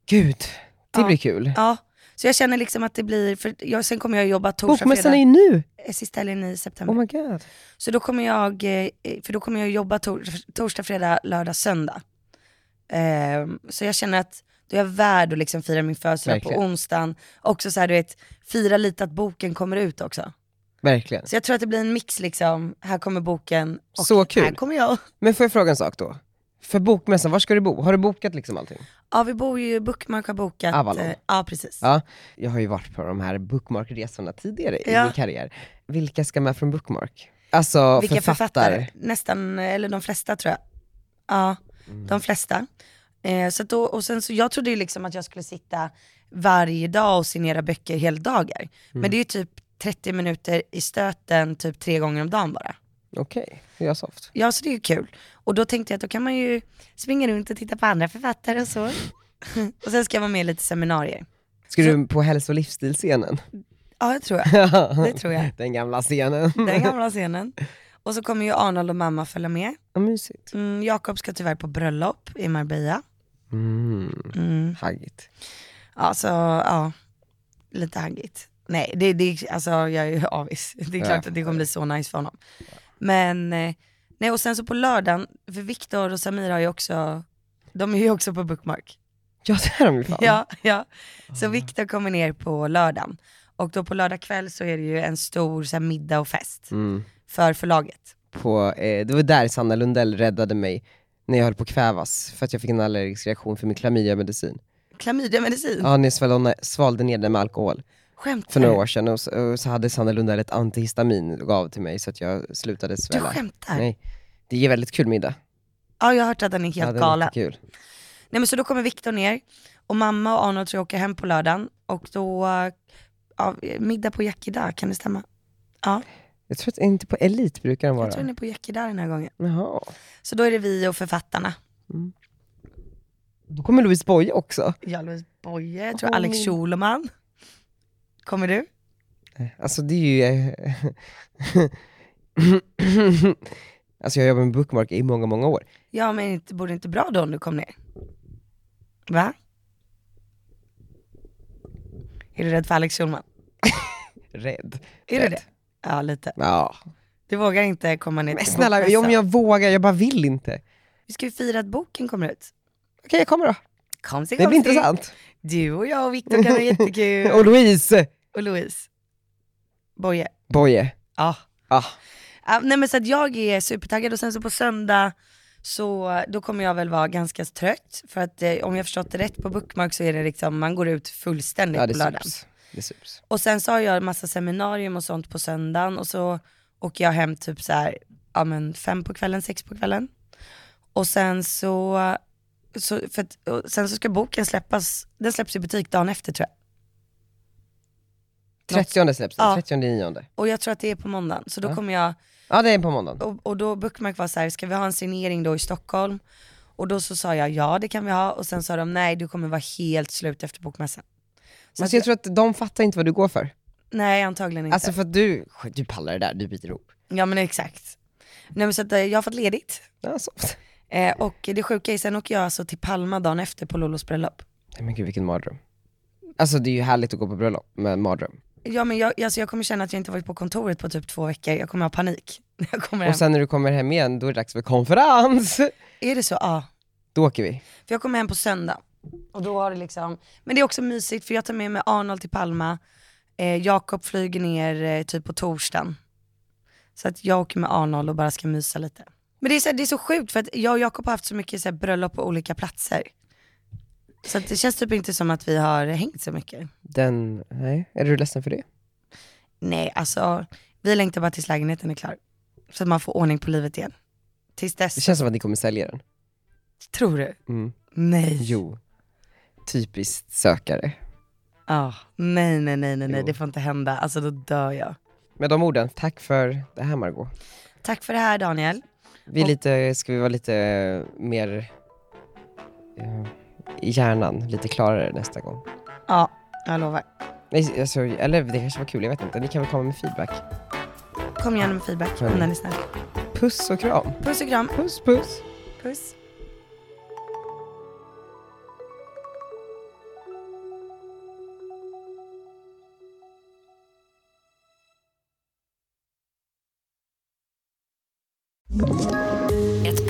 [SPEAKER 1] gud. Det
[SPEAKER 2] Ja.
[SPEAKER 1] blir kul.
[SPEAKER 2] Ja, så jag känner liksom att det blir, för jag, sen kommer jag jobba torsdag,
[SPEAKER 1] Bokmässan är ju
[SPEAKER 2] fredag,
[SPEAKER 1] nu!
[SPEAKER 2] eh, sista helgen i september.
[SPEAKER 1] Oh my god.
[SPEAKER 2] Så då kommer jag, eh, för då kommer jag jobba tor torsdag, fredag, lördag, söndag. Ehm, så jag känner att då är jag värd att liksom fira min födelsedag på
[SPEAKER 1] Verkligen.
[SPEAKER 2] onsdagen. Också så här, du vet, fira lite att boken kommer ut också.
[SPEAKER 1] Verkligen.
[SPEAKER 2] Så jag tror att det blir en mix liksom, här kommer boken och
[SPEAKER 1] Så kul.
[SPEAKER 2] här kommer jag.
[SPEAKER 1] Men får jag fråga en sak då? För bokmässan, var ska du bo? Har du bokat liksom allting?
[SPEAKER 2] Ja vi bor ju, Bookmark har bokat.
[SPEAKER 1] Avalon.
[SPEAKER 2] eh, Ja precis.
[SPEAKER 1] Ja. Jag har ju varit på de här Bookmark-resorna tidigare i
[SPEAKER 2] Ja.
[SPEAKER 1] min karriär. Vilka ska med från Bookmark? Alltså
[SPEAKER 2] Vilka författare?
[SPEAKER 1] författare.
[SPEAKER 2] Nästan, eller de flesta tror jag. Ja, de flesta. Eh, så att då, och sen så, jag trodde ju liksom att jag skulle sitta varje dag och signera böcker hela dagar. Men det är ju typ 30 minuter i stöten typ tre gånger om dagen bara.
[SPEAKER 1] Okej, det är jag soft.
[SPEAKER 2] Ja, så det är ju kul. Och då tänkte jag att då kan man ju springa runt och titta på andra författare och så. och sen ska jag vara med i lite seminarier.
[SPEAKER 1] Ska du på hälso och livsstilscenen?
[SPEAKER 2] Ja, det tror jag. Det tror jag.
[SPEAKER 1] Den gamla scenen.
[SPEAKER 2] Den gamla scenen. Och så kommer ju Arnold och mamma följa med.
[SPEAKER 1] Vad mysigt.
[SPEAKER 2] Mm, Jakob ska tyvärr på bröllop i Marbella.
[SPEAKER 1] Mm. Haggigt.
[SPEAKER 2] Alltså, ja. Lite haggigt. Nej, det, det, alltså, jag är ju avis. Det är klart att det kommer bli så nice för honom. Men, eh, nej och sen så på lördagen, för Viktor och Samir har ju också, de är ju också på Bookmark.
[SPEAKER 1] Ja, Ah. det är de ju fan.
[SPEAKER 2] Ja, ja. Så Viktor kommer ner på lördagen. Och då på lördag kväll så är det ju en stor så här, middag och fest
[SPEAKER 1] Mm.
[SPEAKER 2] för förlaget.
[SPEAKER 1] På, eh, det var där Sanna Lundell räddade mig när jag höll på att kvävas för att jag fick en allergisk reaktion för min klamydiamedicin.
[SPEAKER 2] Mm. Klamydiamedicin,
[SPEAKER 1] Ja, när jag svalde, svalde ner den med alkohol. för
[SPEAKER 2] skämtar
[SPEAKER 1] några
[SPEAKER 2] du?
[SPEAKER 1] år sedan och så, och så hade Sanna Lundell ett antihistamin och gav till mig så att jag slutade
[SPEAKER 2] Du
[SPEAKER 1] svälla.
[SPEAKER 2] skämtar?
[SPEAKER 1] Nej. Det ger väldigt kul middag.
[SPEAKER 2] Ja, jag har hört att den är helt
[SPEAKER 1] ja, det är
[SPEAKER 2] galen.
[SPEAKER 1] jättekul.
[SPEAKER 2] Nej men så då kommer Viktor ner och mamma och Arnold tror jag åker hem på lördagen och då, ja, middag på Yakida, kan det stämma? Ja,
[SPEAKER 1] Jag tror att inte på Elit brukar den vara.
[SPEAKER 2] jag tror den är på Yakida den här gången.
[SPEAKER 1] Jaha.
[SPEAKER 2] Så då är det vi och författarna.
[SPEAKER 1] Då kommer Louise Boye också.
[SPEAKER 2] Jalvis Boye, jag tror
[SPEAKER 1] oh.
[SPEAKER 2] Alex Schulman. Kommer du?
[SPEAKER 1] Alltså det är ju... eh, alltså jag har jobbat med Bookmark i många, många år.
[SPEAKER 2] Ja men inte, borde inte bra då om du kom ner? Va? Är du rädd för Alex Schulman?
[SPEAKER 1] Rädd.
[SPEAKER 2] Är
[SPEAKER 1] Rädd.
[SPEAKER 2] du det? Ja lite.
[SPEAKER 1] Ja.
[SPEAKER 2] Du vågar inte komma ner
[SPEAKER 1] Men
[SPEAKER 2] till
[SPEAKER 1] snälla,
[SPEAKER 2] bokmässan.
[SPEAKER 1] om jag vågar, jag bara vill inte. Okej,
[SPEAKER 2] Vi ska ju fira att boken kommer ut.
[SPEAKER 1] jag kommer då.
[SPEAKER 2] Kom se,
[SPEAKER 1] Det
[SPEAKER 2] kom
[SPEAKER 1] blir
[SPEAKER 2] se.
[SPEAKER 1] intressant.
[SPEAKER 2] Du och jag och Viktor kan ha jättekul.
[SPEAKER 1] Och Louise
[SPEAKER 2] och Louise. Boje.
[SPEAKER 1] Boye.
[SPEAKER 2] Ja.
[SPEAKER 1] Ah.
[SPEAKER 2] Ja, nej men så att jag är supertaggad och sen så på söndag så då kommer jag väl vara ganska trött för att eh, om jag förstått det rätt på Bookmark så är det liksom, man går ut fullständigt
[SPEAKER 1] Ja,
[SPEAKER 2] på
[SPEAKER 1] det
[SPEAKER 2] lördagen.
[SPEAKER 1] sups. Det sups.
[SPEAKER 2] Och sen så har jag en massa seminarium och sånt på söndagen och så åker jag hem typ så här, ja men fem på kvällen, sex på kvällen. Och sen så, så för att, och sen så ska boken släppas, den släpps i butik dagen efter tror jag.
[SPEAKER 1] 30 släpps den,
[SPEAKER 2] Ja.
[SPEAKER 1] 39.
[SPEAKER 2] Och jag tror att det är på måndagen, så då
[SPEAKER 1] Ja.
[SPEAKER 2] kommer jag
[SPEAKER 1] Ja, det är på måndagen.
[SPEAKER 2] och, och då Bookmark var så här, ska vi ha en signering då i Stockholm? Och då så sa jag ja det kan vi ha och sen sa de nej du kommer vara helt slut efter bokmässan. Så att
[SPEAKER 1] Alltså jag
[SPEAKER 2] jag,
[SPEAKER 1] tror att de fattar inte vad du går för.
[SPEAKER 2] nej antagligen inte.
[SPEAKER 1] Alltså för att du, du pallar det där, du biter ihop.
[SPEAKER 2] Ja men exakt. Nej men så att eh, jag har fått ledigt.
[SPEAKER 1] Ja, så.
[SPEAKER 2] Eh, och det sjuka är sen åker jag alltså till Palma dagen efter på Lollos bröllop.
[SPEAKER 1] Nej men gud vilken mardröm. Alltså det är ju härligt att gå på bröllop, men mardröm.
[SPEAKER 2] Ja men jag, alltså jag kommer känna att jag inte varit på kontoret på typ två veckor, jag kommer ha panik när jag kommer hem.
[SPEAKER 1] Och sen när du kommer hem igen, då är det dags för konferens!
[SPEAKER 2] Är det så? Ja.
[SPEAKER 1] Då åker vi.
[SPEAKER 2] För jag kommer hem på söndag. Och då har det liksom, men det är också mysigt för jag tar med mig Arnold till Palma, eh, Jakob flyger ner eh, typ på torsdagen. Så att jag åker med Arnold och bara ska mysa lite. Men det är så, här, det är så sjukt för att jag och Jakob har haft så mycket så här, bröllop på olika platser. Så att det känns typ inte som att vi har hängt så mycket.
[SPEAKER 1] Den, nej, är du ledsen för det?
[SPEAKER 2] Nej, alltså vi längtar bara tills lägenheten är klar. Så att man får ordning på livet igen. Tills dess,
[SPEAKER 1] Det känns som att ni kommer sälja den.
[SPEAKER 2] tror du?
[SPEAKER 1] Mm.
[SPEAKER 2] Nej.
[SPEAKER 1] Jo. Typiskt sökare.
[SPEAKER 2] Ah, nej, nej, nej, nej, nej,
[SPEAKER 1] Jo.
[SPEAKER 2] det får inte hända. Alltså då dör jag.
[SPEAKER 1] Med de orden, tack för det här Margot.
[SPEAKER 2] Tack för det här Daniel.
[SPEAKER 1] Vi är
[SPEAKER 2] Och-
[SPEAKER 1] lite, ska vi vara lite mer eh, i hjärnan, lite klarare nästa gång.
[SPEAKER 2] Ja, jag lovar.
[SPEAKER 1] Nej, alltså, eller det kanske var kul, jag vet inte. Ni kan väl komma med feedback.
[SPEAKER 2] Kom igen med feedback
[SPEAKER 1] Kör vi.
[SPEAKER 2] om den är snäll.
[SPEAKER 1] Puss och kram.
[SPEAKER 2] Puss och kram.
[SPEAKER 1] Puss puss.
[SPEAKER 2] Puss.
[SPEAKER 5] Ett